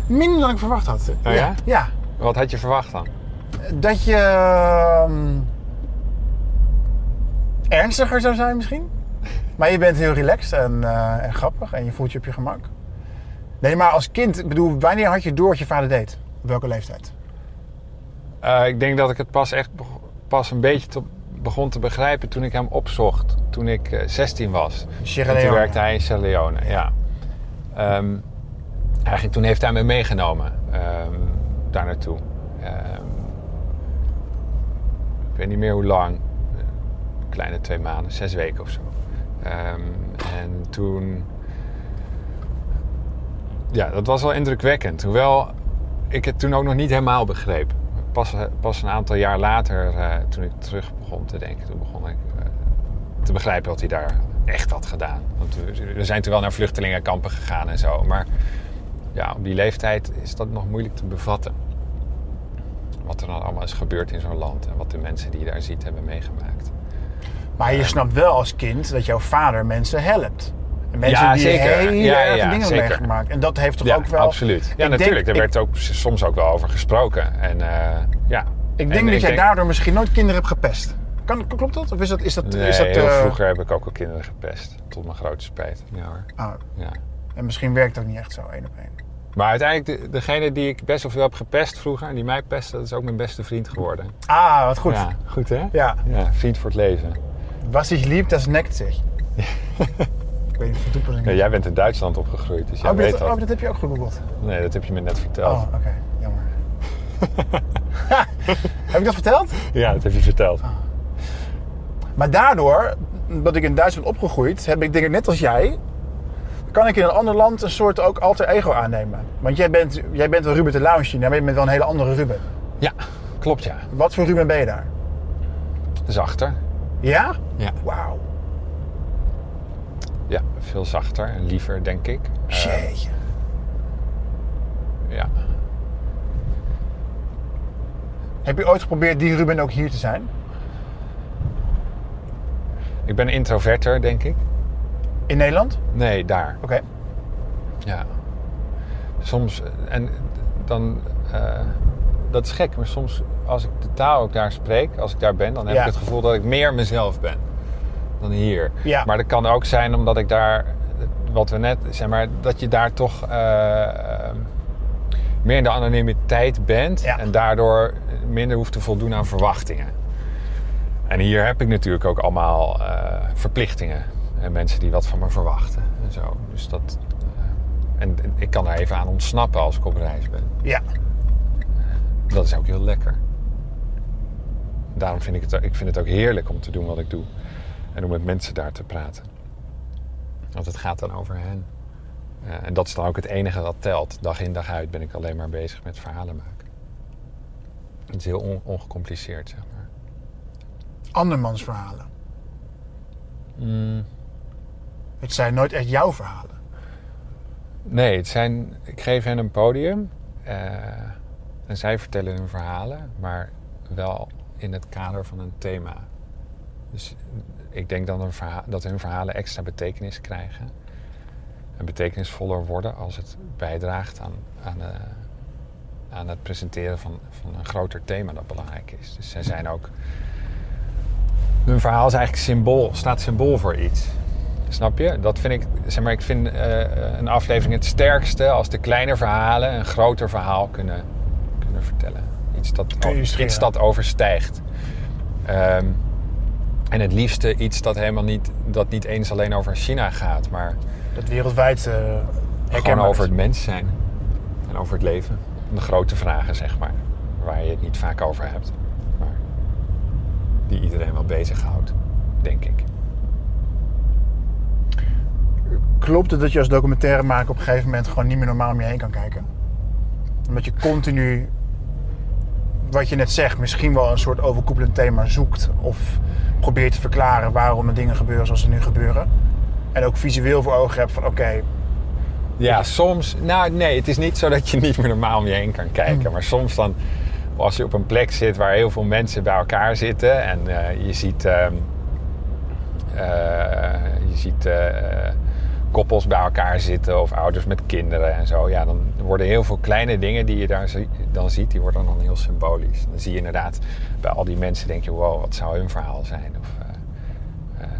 S2: minder dan ik verwacht had?
S3: Oh ja?
S2: Ja.
S3: Wat had je verwacht dan?
S2: dat je ehm, ernstiger zou zijn misschien. Maar je bent heel relaxed en, eh, en grappig en je voelt je op je gemak. Nee, maar als kind, ik bedoel, wanneer had je door wat je vader deed? Op welke leeftijd?
S3: Eh, ik denk dat ik het pas echt beg- pas een beetje te- begon te begrijpen toen ik hem opzocht. Toen ik eh, 16 was.
S2: Sierra
S3: En toen
S2: Leone.
S3: werkte hij in Sierra Leone, ja. Ehm, eigenlijk toen heeft hij me meegenomen ehm, daar naartoe. Ehm, ik weet niet meer hoe lang. Eh, Kleine twee maanden, zes weken of zo. Ehm, en toen... Ja, dat was wel indrukwekkend. Hoewel ik het toen ook nog niet helemaal begreep. Pas, eh, pas een aantal jaar later, eh, toen ik terug begon te denken, toen begon ik eh, te begrijpen wat hij daar echt had gedaan. Want we, we zijn toen wel naar vluchtelingenkampen gegaan en zo. Maar ja, op die leeftijd is dat nog moeilijk te bevatten. Wat er dan allemaal is gebeurd in zo'n land en wat de mensen die je daar ziet hebben meegemaakt.
S2: Maar
S3: Eh.
S2: je snapt wel als kind dat jouw vader mensen helpt. En Mensen
S3: Ja,
S2: die
S3: zeker.
S2: hele
S3: Ja,
S2: erge dingen
S3: ja,
S2: hebben
S3: zeker.
S2: meegemaakt. En dat heeft toch
S3: ja,
S2: ook wel...
S3: absoluut.
S2: Ik
S3: Ja,
S2: denk-
S3: natuurlijk. Daar
S2: ik-
S3: werd ook s- soms ook wel over gesproken. En, eh, ja.
S2: Ik
S3: En
S2: denk dat jij daardoor misschien nooit kinderen hebt gepest. Kan, klopt dat? Of is dat... Is dat,
S3: Nee,
S2: is dat
S3: heel
S2: eh,
S3: vroeger heb ik ook al kinderen gepest. Tot mijn grote spijt. Ja hoor.
S2: ah,
S3: Ja.
S2: en misschien werkt dat niet echt zo, één op één.
S3: Maar uiteindelijk, de- degene die ik best wel veel heb gepest vroeger... en die mij pestte, dat is ook mijn beste vriend geworden.
S2: Ah, wat goed.
S3: Ja, goed hè?
S2: Ja.
S3: ja. Vriend voor het leven.
S2: Was ich lieb, das neckt sich. ik weet niet of het
S3: Ja, jij bent in Duitsland opgegroeid, dus jij
S2: oh,
S3: weet
S2: dat,
S3: dat.
S2: oh, dat heb je ook gegoogeld.
S3: Nee, dat heb je me net verteld.
S2: Oh, oké. Jammer. heb ik dat verteld?
S3: Ja, dat heb je verteld.
S2: Ah. Maar daardoor, dat ik in Duitsland opgegroeid, heb ik dingen net als jij kan ik in een ander land een soort ook alter ego aannemen? Want jij bent, jij bent wel Ruben de Lauw in China, maar je bent wel een hele andere Ruben.
S3: Ja, klopt ja.
S2: Wat voor Ruben ben je daar?
S3: Zachter.
S2: Ja?
S3: Ja.
S2: Wauw.
S3: Ja, veel zachter en liever, denk ik. Eh,
S2: Jeetje.
S3: ja.
S2: Heb je ooit geprobeerd die Ruben ook hier te zijn?
S3: Ik ben introverter, denk ik.
S2: In Nederland?
S3: Nee, daar.
S2: Oké.
S3: Ja. Soms, en dan, eh, dat is gek, maar soms als ik de taal ook daar spreek, als ik daar ben, dan heb
S2: Ja.
S3: ik het gevoel dat ik meer mezelf ben dan hier.
S2: Ja.
S3: Maar dat kan ook zijn omdat ik daar, wat we net, zeg maar, dat je daar toch eh, eh, meer in de anonimiteit bent
S2: Ja.
S3: en daardoor minder hoeft te voldoen aan verwachtingen. En hier heb ik natuurlijk ook allemaal eh, verplichtingen. En mensen die wat van me verwachten en zo. Dus dat. eh, en en ik kan daar even aan ontsnappen als ik op reis ben.
S2: Ja.
S3: Dat is ook heel lekker. Daarom vind ik het, ik vind het ook heerlijk om te doen wat ik doe. En om met mensen daar te praten. Want het gaat dan over hen. Eh, en dat is dan ook het enige dat telt. Dag in dag uit ben ik alleen maar bezig met verhalen maken. Het is heel on- ongecompliceerd, zeg maar.
S2: Andermans verhalen.
S3: Mm.
S2: Het zijn nooit echt jouw verhalen.
S3: Nee, het zijn, ik geef hen een podium. eh, en zij vertellen hun verhalen, maar wel in het kader van een thema. Dus ik denk dan een verha- dat hun verhalen extra betekenis krijgen. En betekenisvoller worden als het bijdraagt aan, aan, eh, aan het presenteren van, van een groter thema dat belangrijk is. Dus zij zijn ook. Hun verhaal is eigenlijk symbool, staat symbool voor iets. Snap je? Dat vind ik, zeg maar, ik vind eh, een aflevering het sterkste als de kleine verhalen een groter verhaal kunnen, kunnen vertellen. Iets dat,
S2: Kun je scheren.
S3: iets dat overstijgt. Ehm, en het liefste iets dat helemaal niet, dat niet eens alleen over China gaat, maar
S2: Dat wereldwijd eh
S3: gewoon
S2: herkenbaar
S3: over
S2: is.
S3: het mens zijn. En over het leven. De grote vragen, zeg maar. Waar je het niet vaak over hebt. Maar die iedereen wel bezighoudt, denk ik.
S2: Klopt het dat je als documentairemaker op een gegeven moment gewoon niet meer normaal om je heen kan kijken? Omdat je continu, wat je net zegt, misschien wel een soort overkoepelend thema zoekt. Of probeert te verklaren waarom de dingen gebeuren zoals ze nu gebeuren. En ook visueel voor ogen hebt van oké,
S3: Ja, soms. Nou, nee, het is niet zo dat je niet meer normaal om je heen kan kijken. Maar soms dan, als je op een plek zit waar heel veel mensen bij elkaar zitten en eh, je ziet, ehm, eh, je ziet eh, koppels bij elkaar zitten of ouders met kinderen en zo. Ja, dan worden heel veel kleine dingen die je daar zie- dan ziet, die worden dan heel symbolisch. Dan zie je inderdaad bij al die mensen denk je, wow, wat zou hun verhaal zijn? Of, eh,
S2: Dat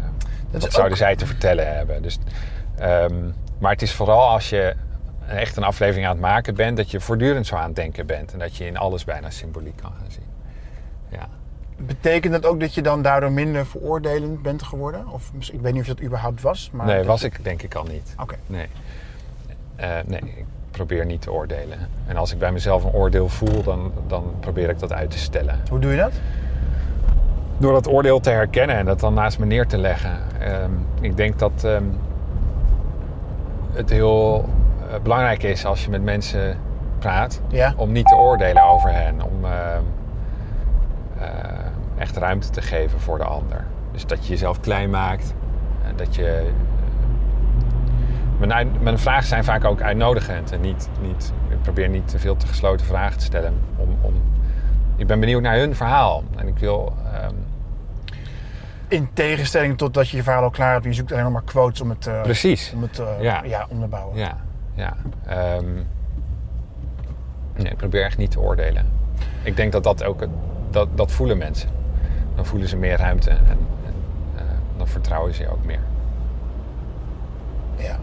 S3: wat
S2: is
S3: zouden
S2: ook-
S3: zij te vertellen hebben? Dus, ehm, maar het is vooral als je echt een aflevering aan het maken bent... dat je voortdurend zo aan het denken bent. En dat je in alles bijna symboliek kan gaan zien. Ja.
S2: betekent dat ook dat je dan daardoor minder veroordelend bent geworden? Of mis- ik weet niet of dat überhaupt was, maar...
S3: Nee,
S2: dat-
S3: was ik denk ik al niet.
S2: Oké.
S3: Nee. Eh, nee, ik probeer niet te oordelen. En als ik bij mezelf een oordeel voel, dan, dan probeer ik dat uit te stellen.
S2: Hoe doe je dat?
S3: door dat oordeel te herkennen en dat dan naast me neer te leggen. Ehm, ik denk dat ehm, het heel eh, belangrijk is als je met mensen praat
S2: Ja.
S3: om niet te oordelen over hen, om ehm, eh, echt ruimte te geven voor de ander. Dus dat je jezelf klein maakt en dat je. eh, Mijn, uit- mijn vragen zijn vaak ook uitnodigend en niet, niet. Ik probeer niet te veel te gesloten vragen te stellen om, om ik ben benieuwd naar hun verhaal. En ik wil. ehm,
S2: In tegenstelling tot dat je je verhaal al klaar hebt en je zoekt alleen nog maar quotes om het, eh,
S3: precies.
S2: om het eh, ja.
S3: Ja.
S2: om te bouwen.
S3: Ja, ja. Ehm, nee, ik probeer echt niet te oordelen. Ik denk dat dat ook. het- Dat, dat voelen mensen. Dan voelen ze meer ruimte en, en eh, dan vertrouwen ze je ook meer.
S2: Ja.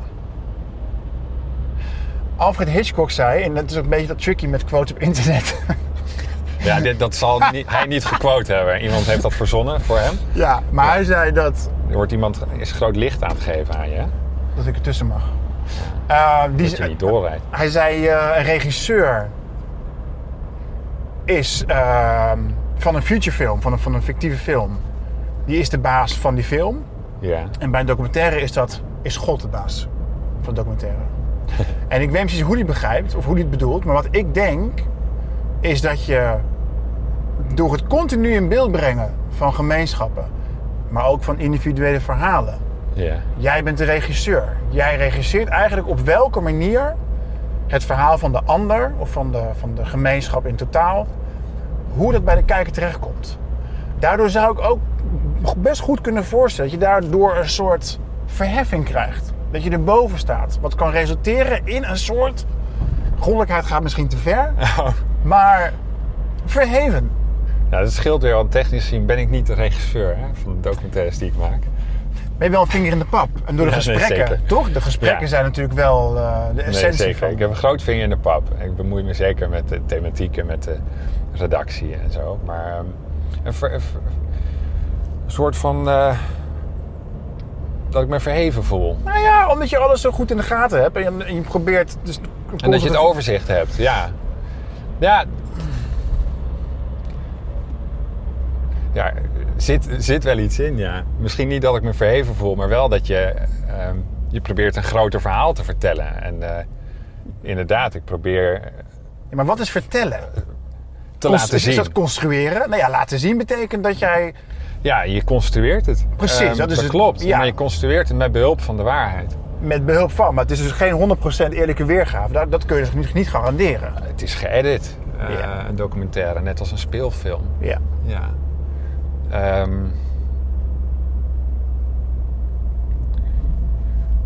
S2: Alfred Hitchcock zei, en dat is ook een beetje dat tricky met quotes op internet.
S3: Ja, dit, dat zal niet, hij niet gequote hebben. Iemand heeft dat verzonnen voor hem.
S2: ja, maar hij zei dat,
S3: Er wordt iemand is groot licht aan het geven aan je. hè?
S2: dat ik ertussen mag. Eh, die,
S3: Dat je niet doorrijdt.
S2: Hij zei, eh, een regisseur is ehm, van een future film, van een, van een fictieve film. Die is de baas van die film.
S3: Ja.
S2: En bij een documentaire is dat, is God de baas van de documentaire. en ik weet niet precies hoe die het begrijpt of hoe die het bedoelt. Maar wat ik denk is dat je door het continu in beeld brengen van gemeenschappen, maar ook van individuele verhalen.
S3: Ja.
S2: Jij bent de regisseur. Jij regisseert eigenlijk op welke manier het verhaal van de ander of van de, van de gemeenschap in totaal, hoe dat bij de kijker terechtkomt. Daardoor zou ik ook best goed kunnen voorstellen dat je daardoor een soort verheffing krijgt. Dat je erboven staat. Wat kan resulteren in een soort. Goddelijkheid gaat misschien te ver, maar verheven.
S3: Nou, dat scheelt weer, want technisch gezien ben ik niet de regisseur hè, van de documentaires die ik maak.
S2: Ben je wel een vinger in de pap. En door de
S3: Ja, nee,
S2: gesprekken,
S3: zeker.
S2: toch? De gesprekken
S3: Ja.
S2: zijn natuurlijk wel eh, de essentie
S3: Nee, zeker.
S2: van.
S3: Ik heb een groot vinger in de pap. Ik bemoei me zeker met de thematiek en met de redactie en zo. Maar ehm, een, ver- een ver- een soort van... eh, dat ik me verheven voel.
S2: Nou ja, omdat je alles zo goed in de gaten hebt en je, en je probeert... Dus
S3: En dat je het overzicht hebt, ja. Ja. Ja, zit, zit wel iets in, ja. Misschien niet dat ik me verheven voel, maar wel dat je... ehm, je probeert een groter verhaal te vertellen. En eh, inderdaad, ik probeer
S2: Ja, maar wat is vertellen?
S3: te
S2: Cons-
S3: laten
S2: is,
S3: zien.
S2: Is dat construeren? Nou ja, laten zien betekent dat jij...
S3: Ja, je construeert het.
S2: Precies,
S3: Ehm,
S2: dat is het-
S3: klopt.
S2: ja.
S3: Maar je construeert het met behulp van de waarheid.
S2: Met behulp van, maar het is dus geen 100% eerlijke weergave. Dat, dat kun je dus niet- niet garanderen.
S3: Het is geëdit, eh,
S2: Ja.
S3: een documentaire, net als een speelfilm.
S2: Ja.
S3: Ja. Ehm,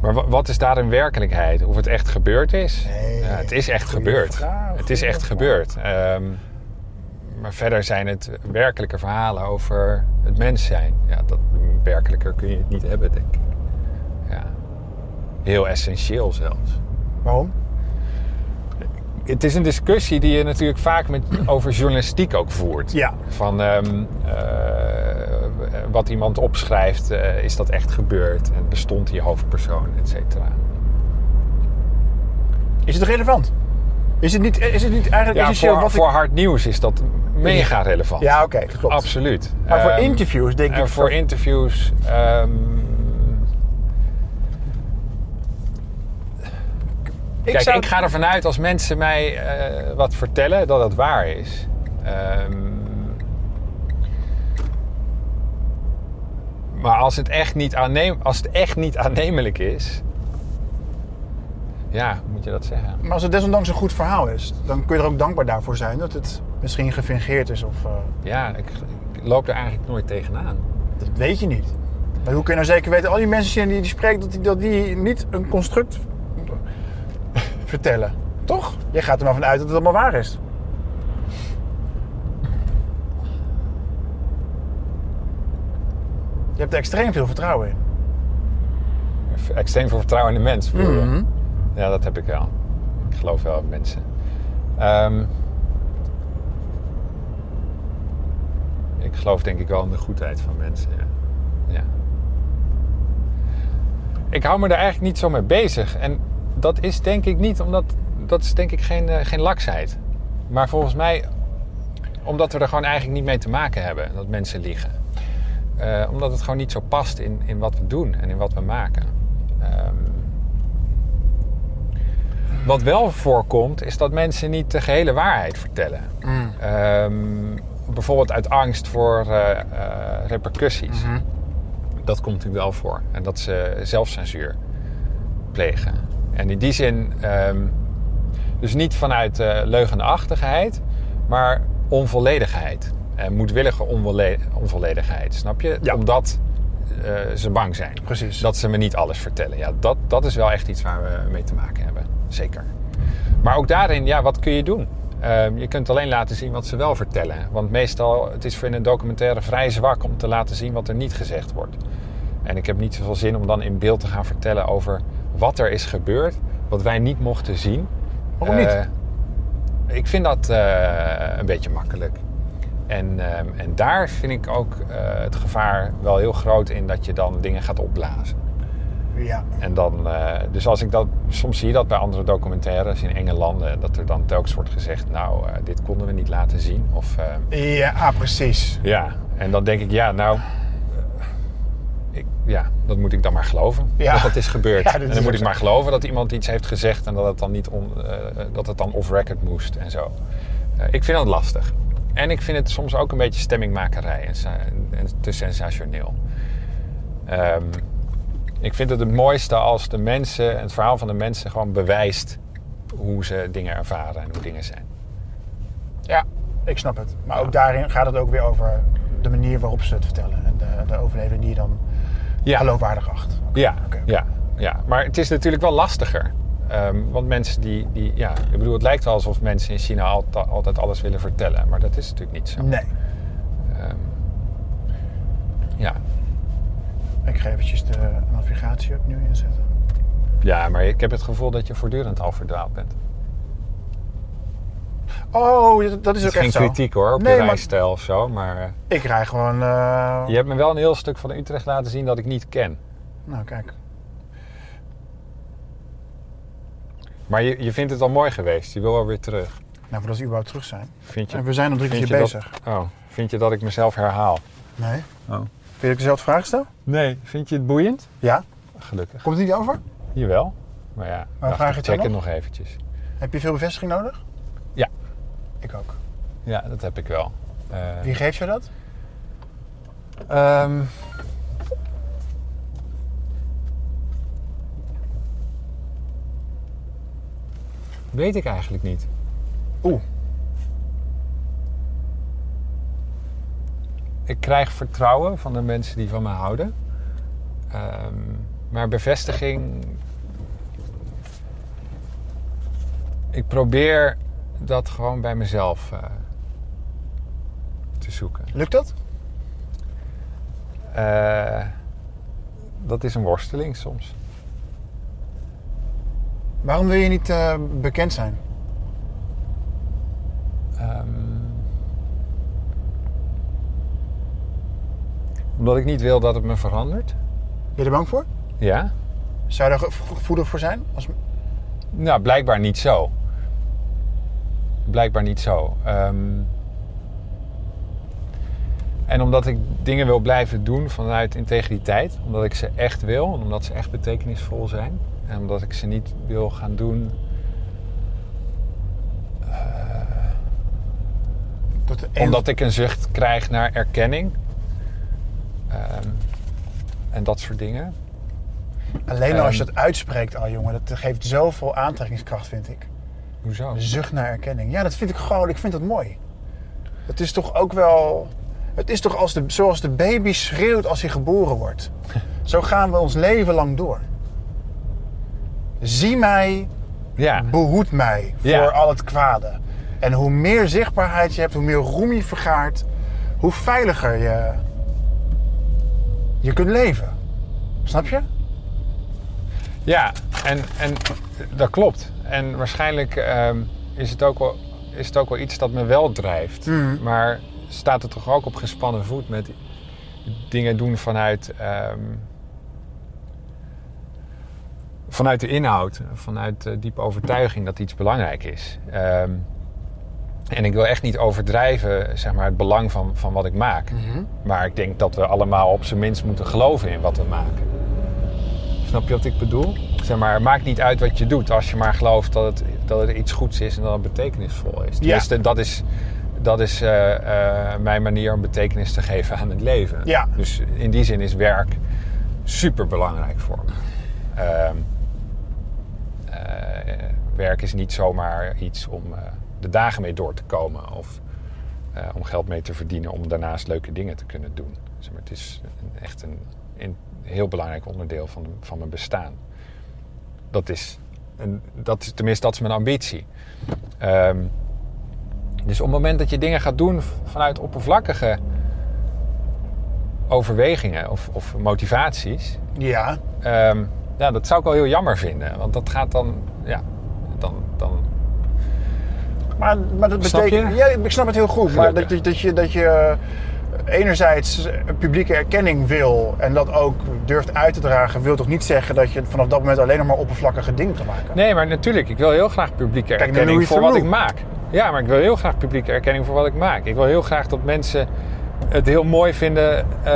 S3: maar wa- wat is daar in werkelijkheid? Of het echt gebeurd is?
S2: Nee.
S3: Ja, het is echt
S2: Goeie
S3: gebeurd.
S2: vraag,
S3: het is
S2: goeie
S3: echt
S2: vraag.
S3: gebeurd. Ehm, maar verder zijn het werkelijke verhalen over het mens zijn. Ja, dat werkelijker kun je het niet hebben, denk ik. Ja. Heel essentieel zelfs.
S2: Waarom?
S3: Het is een discussie die je natuurlijk vaak met, over journalistiek ook voert.
S2: Ja.
S3: Van ehm, eh, wat iemand opschrijft, eh, is dat echt gebeurd? En bestond die hoofdpersoon, et cetera?
S2: Is het relevant? Is het niet, is het niet eigenlijk
S3: Ja,
S2: essentieel
S3: voor,
S2: wat
S3: voor
S2: ik...
S3: hard nieuws is dat mega relevant.
S2: Ja, oké, dat klopt.
S3: Absoluut.
S2: Maar voor
S3: Ehm,
S2: interviews denk
S3: en
S2: ik...
S3: voor interviews... ehm,
S2: ik
S3: kijk,
S2: zou-
S3: ik ga ervan uit als mensen mij eh, wat vertellen dat het waar is. Ehm, Maar als het echt niet, aanneem, als het echt niet aannemelijk is. Ja, hoe moet je dat zeggen?
S2: Maar als het desondanks een goed verhaal is, dan kun je er ook dankbaar daarvoor zijn dat het misschien gefingeerd is of... eh,
S3: Ja, ik, ik loop er eigenlijk nooit tegenaan.
S2: Dat weet je niet. Maar hoe kun je nou zeker weten, al die mensen die die spreekt, dat die, dat die niet een construct vertellen? Toch? Je gaat er maar vanuit dat het allemaal waar is. Je hebt er extreem veel vertrouwen in.
S3: Extreem veel vertrouwen in de mens. bedoel je?
S2: Mhm.
S3: Ja, dat heb ik wel. Ik geloof wel in mensen. Ehm, ik geloof denk ik wel in de goedheid van mensen. Ja. ja. Ik hou me daar eigenlijk niet zo mee bezig. En dat is denk ik niet, omdat dat is denk ik geen, eh, geen laksheid. Maar volgens mij, omdat we er gewoon eigenlijk niet mee te maken hebben dat mensen liegen. Eh, omdat het gewoon niet zo past in, in wat we doen en in wat we maken. Ehm, wat wel voorkomt, is dat mensen niet de gehele waarheid vertellen.
S2: Mm.
S3: Ehm, bijvoorbeeld uit angst voor eh, eh, repercussies.
S2: Mhm.
S3: Dat komt natuurlijk wel voor. En dat ze zelfcensuur plegen. En in die zin, ehm, dus niet vanuit eh, leugenachtigheid, maar onvolledigheid. En moedwillige onvolle- onvolledigheid, snap je?
S2: Ja.
S3: Omdat eh, ze bang zijn.
S2: Precies.
S3: Dat ze me niet alles vertellen. Ja, dat, dat is wel echt iets waar we mee te maken hebben. Zeker. Maar ook daarin, ja, wat kun je doen? Ehm, je kunt alleen laten zien wat ze wel vertellen. Want meestal, het is voor in een documentaire vrij zwak om te laten zien wat er niet gezegd wordt. En ik heb niet zoveel zin om dan in beeld te gaan vertellen over wat er is gebeurd, wat wij niet mochten zien.
S2: Waarom niet?
S3: Eh, Ik vind dat eh, een beetje makkelijk. En, ehm, en daar vind ik ook eh, het gevaar wel heel groot in dat je dan dingen gaat opblazen.
S2: Ja.
S3: En dan, eh, dus als ik dat, soms zie je dat bij andere documentaires in enge landen, dat er dan telkens wordt gezegd, nou, eh, dit konden we niet laten zien. Of, eh,
S2: Ja, ah, precies.
S3: ja, en dan denk ik, ja, nou, eh, ik, ja, dat moet ik dan maar geloven.
S2: Ja.
S3: Dat dat is gebeurd.
S2: Ja, dat
S3: en
S2: is
S3: dan
S2: ook
S3: moet ik
S2: zo.
S3: maar geloven dat iemand iets heeft gezegd en dat het dan, niet on, eh, dat het dan off-record moest en zo. Eh, ik vind dat lastig. En ik vind het soms ook een beetje stemmingmakerij en, sa- en te sensationeel. Ehm, ik vind het het mooiste als de mensen, het verhaal van de mensen gewoon bewijst hoe ze dingen ervaren en hoe dingen zijn.
S2: Ja, ik snap het. Maar ook daarin gaat het ook weer over de manier waarop ze het vertellen. En de, de overleving die je dan
S3: Ja.
S2: geloofwaardig acht.
S3: Ja,
S2: Oké.
S3: ja, ja, maar het is natuurlijk wel lastiger. Ehm, want mensen die, die, ja, ik bedoel, het lijkt wel alsof mensen in China alta- altijd alles willen vertellen, maar dat is natuurlijk niet zo.
S2: Nee.
S3: Ehm, ja.
S2: Ik ga eventjes de navigatie opnieuw inzetten.
S3: ja, maar ik heb het gevoel dat je voortdurend al verdwaald bent.
S2: Oh, dat, dat is ook
S3: Het is geen
S2: echt zo.
S3: kritiek hoor, op
S2: nee,
S3: je
S2: maar
S3: rijstijl of zo, maar eh,
S2: ik rij gewoon... eh,
S3: je hebt me wel een heel stuk van Utrecht laten zien dat ik niet ken.
S2: Nou, kijk.
S3: Maar je, je vindt het al mooi geweest, je wil wel weer terug.
S2: Nou, voordat we überhaupt terug zijn.
S3: Vind je,
S2: En we zijn al drie
S3: vind
S2: keer
S3: je dat-
S2: bezig.
S3: oh, vind je dat ik mezelf herhaal?
S2: Nee.
S3: Oh.
S2: Wil je dat ik dezelfde vraag stel?
S3: Nee. Vind je het boeiend?
S2: Ja.
S3: Gelukkig.
S2: Komt het niet over?
S3: Jawel. Maar ja,
S2: Maar
S3: dacht
S2: vraag
S3: ik,
S2: het dan
S3: check het nog eventjes.
S2: Heb je veel bevestiging nodig?
S3: Ja.
S2: Ik ook.
S3: Ja, dat heb ik wel. Eh,
S2: Wie geeft je dat?
S3: ehm, weet ik eigenlijk niet.
S2: Oeh.
S3: Ik krijg vertrouwen van de mensen die van me houden. Ehm, maar bevestiging. Ik probeer dat gewoon bij mezelf eh, te zoeken.
S2: Lukt dat?
S3: Eh, dat is een worsteling soms.
S2: Waarom wil je niet eh, bekend zijn?
S3: Ehm, omdat ik niet wil dat het me verandert.
S2: Ben je er bang voor?
S3: Ja?
S2: Zou je daar ge- gevoelig voor zijn? Als...
S3: Nou, blijkbaar niet zo. Blijkbaar niet zo. Ehm, en omdat ik dingen wil blijven doen vanuit integriteit, omdat ik ze echt wil, en omdat ze echt betekenisvol zijn, en omdat ik ze niet wil gaan doen
S2: Dat de een-
S3: Omdat ik een zucht krijg naar erkenning. Ehm, en dat soort dingen.
S2: Alleen al als je
S3: Ehm.
S2: dat uitspreekt al, jongen. Dat geeft zoveel aantrekkingskracht, vind ik.
S3: Hoezo?
S2: De zucht naar erkenning. Ja, dat vind ik gewoon... Ik vind dat mooi. Het is toch ook wel... Het is toch als de, zoals de baby schreeuwt als hij geboren wordt. Zo gaan we ons leven lang door. Zie mij,
S3: Ja,
S2: behoed mij voor
S3: Ja.
S2: al het kwade. En hoe meer zichtbaarheid je hebt, hoe meer roem je vergaart, hoe veiliger je, je kunt leven. Snap je?
S3: ja. En, en dat klopt. En waarschijnlijk ehm, is, het ook wel, is het ook wel iets dat me wel drijft. Maar staat het toch ook op gespannen voet met dingen doen vanuit, ehm, vanuit de inhoud, vanuit eh, diepe overtuiging dat iets belangrijk is. Ehm, en ik wil echt niet overdrijven zeg maar, het belang van, van wat ik maak. Maar ik denk dat we allemaal op zijn minst moeten geloven in wat we maken. Snap je wat ik bedoel? Zeg maar, het maakt niet uit wat je doet als je maar gelooft dat het, dat het iets goeds is en dat het betekenisvol is. Tenminste, dat is, dat is eh, eh, mijn manier om betekenis te geven aan het leven.
S2: Ja.
S3: Dus in die zin is werk super belangrijk voor me. Ehm, eh, werk is niet zomaar iets om eh, de dagen mee door te komen of eh, om geld mee te verdienen om daarnaast leuke dingen te kunnen doen. Zeg maar, het is een- echt een, een heel belangrijk onderdeel van, van mijn bestaan. Dat is, en dat is, tenminste, dat is mijn ambitie. Ehm, dus op het moment dat je dingen gaat doen v- vanuit oppervlakkige overwegingen of, of motivaties,
S2: Ja.
S3: Ehm, ja, dat zou ik wel heel jammer vinden. Want dat gaat dan... Ja, dan, dan
S2: Maar, maar dat
S3: Snap
S2: betekent.
S3: je?
S2: Ja, ik snap het heel goed. Maar dat,
S3: Gelukkig.
S2: dat, dat je, dat je eh, enerzijds publieke erkenning wil en dat ook durft uit te dragen, wil toch niet zeggen dat je vanaf dat moment alleen nog maar oppervlakkige dingen gaat maken.
S3: nee, maar natuurlijk. Ik wil heel graag publieke
S2: naar
S3: erkenning
S2: Louis
S3: voor wat ik
S2: Theroux.
S3: maak. Ja, maar ik wil heel graag publieke erkenning voor wat ik maak. Ik wil heel graag dat mensen het heel mooi vinden... eh,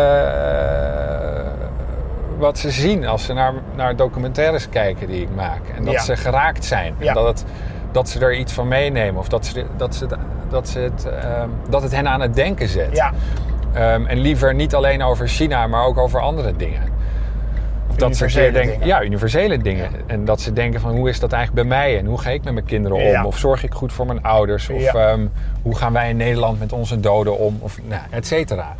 S3: wat ze zien als ze naar, naar documentaires kijken die ik maak. En dat
S2: Ja.
S3: ze geraakt zijn.
S2: Ja.
S3: En dat, het, dat ze er iets van meenemen. Of dat, ze, dat, ze, dat, ze het, ehm, dat het hen aan het denken zet.
S2: Ja.
S3: Ehm, en liever niet alleen over China, maar ook over andere dingen. Of dat ze een
S2: Universele
S3: keer denken,
S2: dingen.
S3: ja, universele dingen. En dat ze denken van hoe is dat eigenlijk bij mij en hoe ga ik met mijn kinderen om?
S2: Ja.
S3: Of zorg ik goed voor mijn ouders?
S2: Ja.
S3: Of ehm, hoe gaan wij in Nederland met onze doden om? Of nou, et cetera.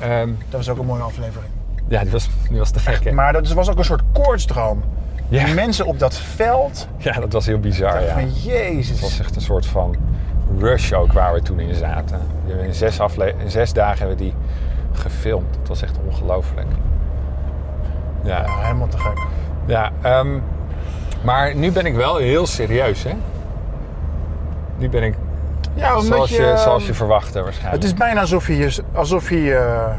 S3: Ehm,
S2: Dat was ook een mooie aflevering.
S3: ja, die was, die was te gek. hè?
S2: Maar dat was ook een soort koortsdroom.
S3: Ja.
S2: Die mensen op dat veld.
S3: Ja, dat was heel bizar. Ja.
S2: Van
S3: Het was
S2: jezus.
S3: echt een soort van rush ook waar we toen in zaten. We hebben In zes, afle- in zes dagen hebben we die gefilmd. Het was echt ongelooflijk. Ja.
S2: Ja, helemaal te gek.
S3: Ja, ehm, maar nu ben ik wel heel serieus, hè? Nu ben ik
S2: Ja, omdat
S3: zoals je,
S2: ehm,
S3: zoals je verwachtte
S2: Het
S3: waarschijnlijk.
S2: is bijna alsof je je, alsof je, eh,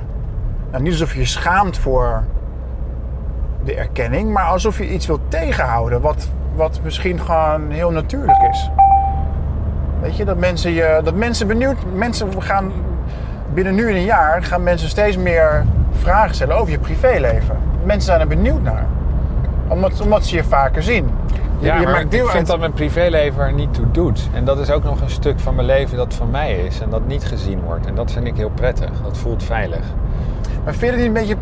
S2: nou, niet alsof je je schaamt voor de erkenning, maar alsof je iets wilt tegenhouden wat, wat misschien gewoon heel natuurlijk is. Weet je, dat mensen, je, dat mensen benieuwd, mensen gaan binnen nu en een jaar gaan mensen steeds meer vragen stellen over je privéleven. Mensen zijn er benieuwd naar, omdat, omdat ze je vaker zien. Je,
S3: ja,
S2: je
S3: maar ik vind
S2: uit-
S3: dat mijn privéleven er niet toe doet. En dat is ook nog een stuk van mijn leven dat van mij is en dat niet gezien wordt. En dat vind ik heel prettig. Dat voelt veilig.
S2: Maar vind je dat niet een beetje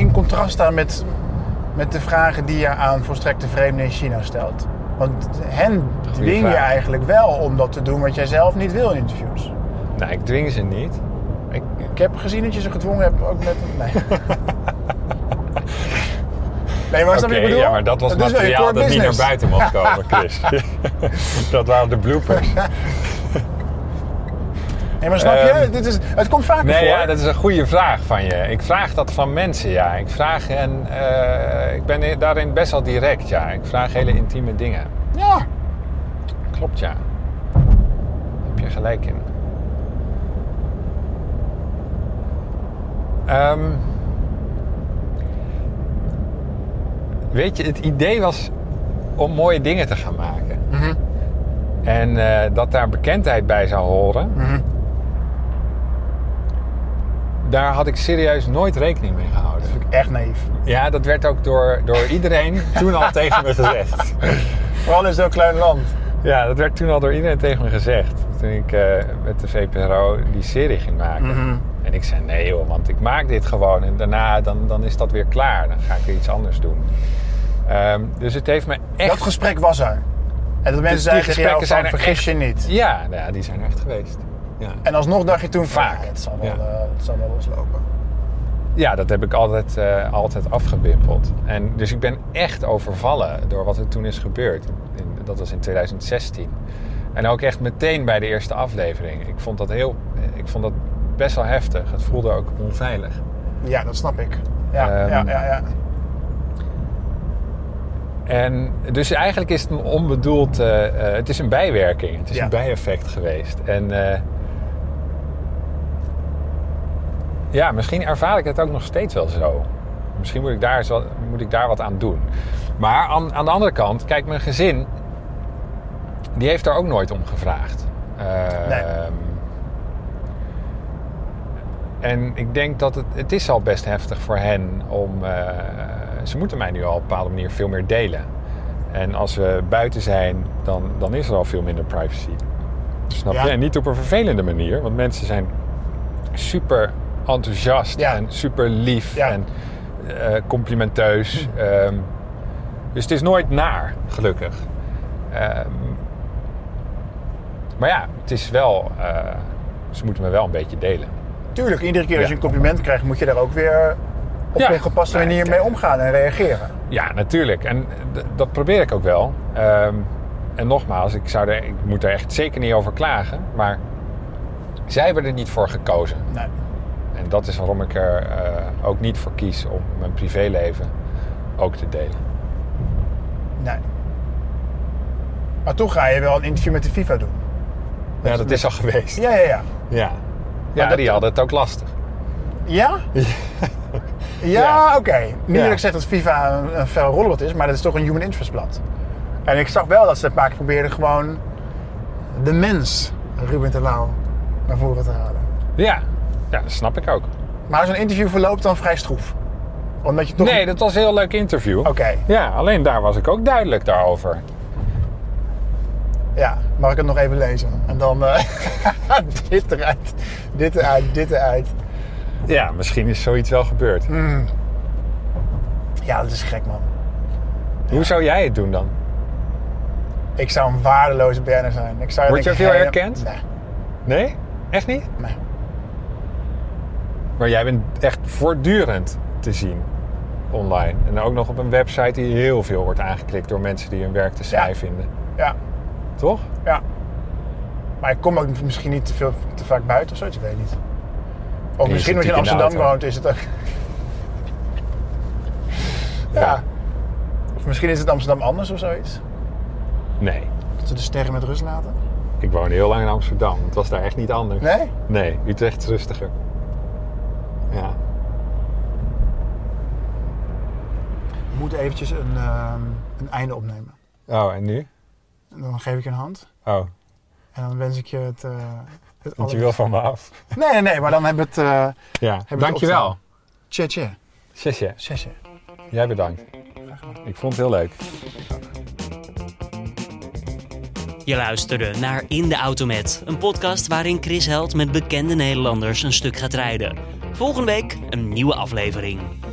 S2: in contrast staan met, met de vragen die je aan volstrekte vreemden in China stelt? Want hen
S3: Goeie
S2: dwing je
S3: vraag.
S2: eigenlijk wel om dat te doen wat jij zelf niet wil in interviews.
S3: Nou, ik dwing ze niet. Ik,
S2: Ik heb gezien dat je ze gedwongen hebt ook met... Nee. Nee, maar snap
S3: Oké,
S2: je wat ik bedoel?
S3: ja, maar dat was
S2: is wel je
S3: materiaal
S2: core
S3: dat niet naar
S2: business.
S3: buiten mocht komen, Chris. dat waren de bloopers.
S2: Nee, maar snap je?
S3: Ehm,
S2: Dit is, het komt vaker
S3: Nee,
S2: voor.
S3: ja, dat is een goede vraag van je. Ik vraag dat van mensen, ja. Ik vraag en eh, ik ben daarin best wel direct, ja. Ik vraag hele intieme dingen.
S2: Ja.
S3: Klopt, ja. Daar heb je gelijk in. Ehm, weet je, het idee was om mooie dingen te gaan maken. En eh, dat daar bekendheid bij zou horen. Daar had ik serieus nooit rekening mee gehouden.
S2: Echt naïef.
S3: Ja, dat werd ook door, door iedereen toen al tegen me gezegd.
S2: Vooral in zo'n klein land.
S3: Ja, dat werd toen al door iedereen tegen me gezegd. Toen ik eh, met de VPRO die serie ging maken. En ik zei, nee joh, want ik maak dit gewoon. En daarna, dan, dan is dat weer klaar. Dan ga ik weer iets anders doen. Ehm, dus het heeft me echt... Dus
S2: Dat gesprek was er. En dat mensen
S3: die
S2: zeiden tegen jou
S3: gesprekken zijn
S2: van,
S3: er
S2: vergis je niet.
S3: Ja, nou ja, die zijn er echt geweest. Ja.
S2: En alsnog dacht je toen vaak.
S3: Vaak.
S2: Het zal wel,
S3: Ja.
S2: eh, het zal wel eens lopen.
S3: ja, dat heb ik altijd, eh, altijd afgewimpeld. En, dus ik ben echt overvallen door wat er toen is gebeurd. In- dat was in 2016. En ook echt meteen bij de eerste aflevering. Ik vond dat, heel, ik vond dat best wel heftig. Het voelde ook onveilig.
S2: Ja, dat snap ik. Ja,
S3: Ehm,
S2: ja, ja, ja.
S3: En dus eigenlijk is het een onbedoeld. eh, eh, het is een bijwerking. Het is
S2: Ja.
S3: een bijeffect geweest. En eh, ja, misschien ervaar ik het ook nog steeds wel zo. Misschien moet ik daar, eens wat, moet ik daar wat aan doen. Maar aan, aan de andere kant, kijk, mijn gezin. Die heeft daar ook nooit om gevraagd. Ehm,
S2: Nee.
S3: En ik denk dat het, het is al best heftig voor hen om. eh, ze moeten mij nu al op een bepaalde manier veel meer delen. En als we buiten zijn, dan, dan is er al veel minder privacy. Snap
S2: Ja.
S3: je? En niet op een vervelende manier, want mensen zijn super enthousiast
S2: Ja.
S3: en super lief
S2: Ja.
S3: en eh, complimenteus. Ehm, dus het is nooit naar, gelukkig. Ehm, maar ja, het is wel. eh, ze moeten me wel een beetje delen.
S2: Tuurlijk, iedere keer als je
S3: Ja.
S2: een compliment krijgt, moet je daar ook weer op
S3: Ja.
S2: een gepaste
S3: Nee,
S2: manier mee omgaan en reageren.
S3: Ja, natuurlijk. En d- dat probeer ik ook wel. Ehm, en nogmaals, ik, zou er, ik moet er echt zeker niet over klagen. Maar zij hebben er niet voor gekozen.
S2: Nee.
S3: En dat is waarom ik er eh, ook niet voor kies om mijn privéleven ook te delen.
S2: nee. Maar toch ga je wel een interview met de FIFA doen.
S3: Ja, dat Dus is al geweest.
S2: Ja, ja, ja.
S3: Ja, ja
S2: dat-
S3: die hadden het ook lastig.
S2: Ja? Ja,
S3: Ja.
S2: oké. Niet
S3: Ja.
S2: dat ik zeg dat FIFA een, een fel rollenblad is, maar dat is toch een human interest blad. En ik zag wel dat ze een paar keer probeerden gewoon de mens, Ruben de Lauw, naar voren te halen.
S3: Ja. ja, dat snap ik ook.
S2: Maar zo'n interview verloopt dan vrij stroef. Omdat je toch...
S3: Nee, dat was een heel leuk interview.
S2: Oké,
S3: Ja, alleen daar was ik ook duidelijk daarover.
S2: ja. Mag ik het nog even lezen? En dan eh, dit eruit, dit eruit, dit eruit.
S3: Ja, misschien is zoiets wel gebeurd.
S2: Ja, dat is gek, man.
S3: Hoe zou jij het doen dan?
S2: Ik zou een waardeloze banner zijn. Ik zou
S3: Word je
S2: denk ik
S3: veel
S2: hele-
S3: herkend?
S2: Nee,
S3: Nee? Echt niet?
S2: nee.
S3: Maar jij bent echt voortdurend te zien online. En ook nog op een website die heel veel wordt aangeklikt door mensen die hun werk te saai
S2: Ja.
S3: vinden.
S2: Ja,
S3: Toch?
S2: ja. Maar ik kom ook misschien niet te, veel, te vaak buiten of zoiets, ik weet het niet. Of
S3: je
S2: misschien
S3: zit
S2: omdat je in
S3: diep in de
S2: Amsterdam
S3: auto.
S2: woont is het ook... ja. Of misschien is het Amsterdam anders of zoiets.
S3: Nee.
S2: Dat ze de sterren met rust laten.
S3: Ik woonde heel lang in Amsterdam. Het was daar echt niet anders.
S2: Nee?
S3: Nee, Utrecht is rustiger. Ja.
S2: We moeten eventjes een, ehm, een einde opnemen.
S3: Oh, en nu?
S2: En dan geef ik je een hand.
S3: Oh,
S2: En dan wens ik je het... eh het
S3: want je
S2: aller-
S3: wil van me af.
S2: Nee, nee, nee. Maar dan hebben we het... eh
S3: Ja,
S2: het
S3: dankjewel.
S2: opgedaan. tje, tje.
S3: Sesje,
S2: Tje, tje.
S3: jij bedankt. Ik vond het heel leuk.
S1: Je luisterde naar In de Auto Met, een podcast waarin Chris Held met bekende Nederlanders een stuk gaat rijden. Volgende week een nieuwe aflevering.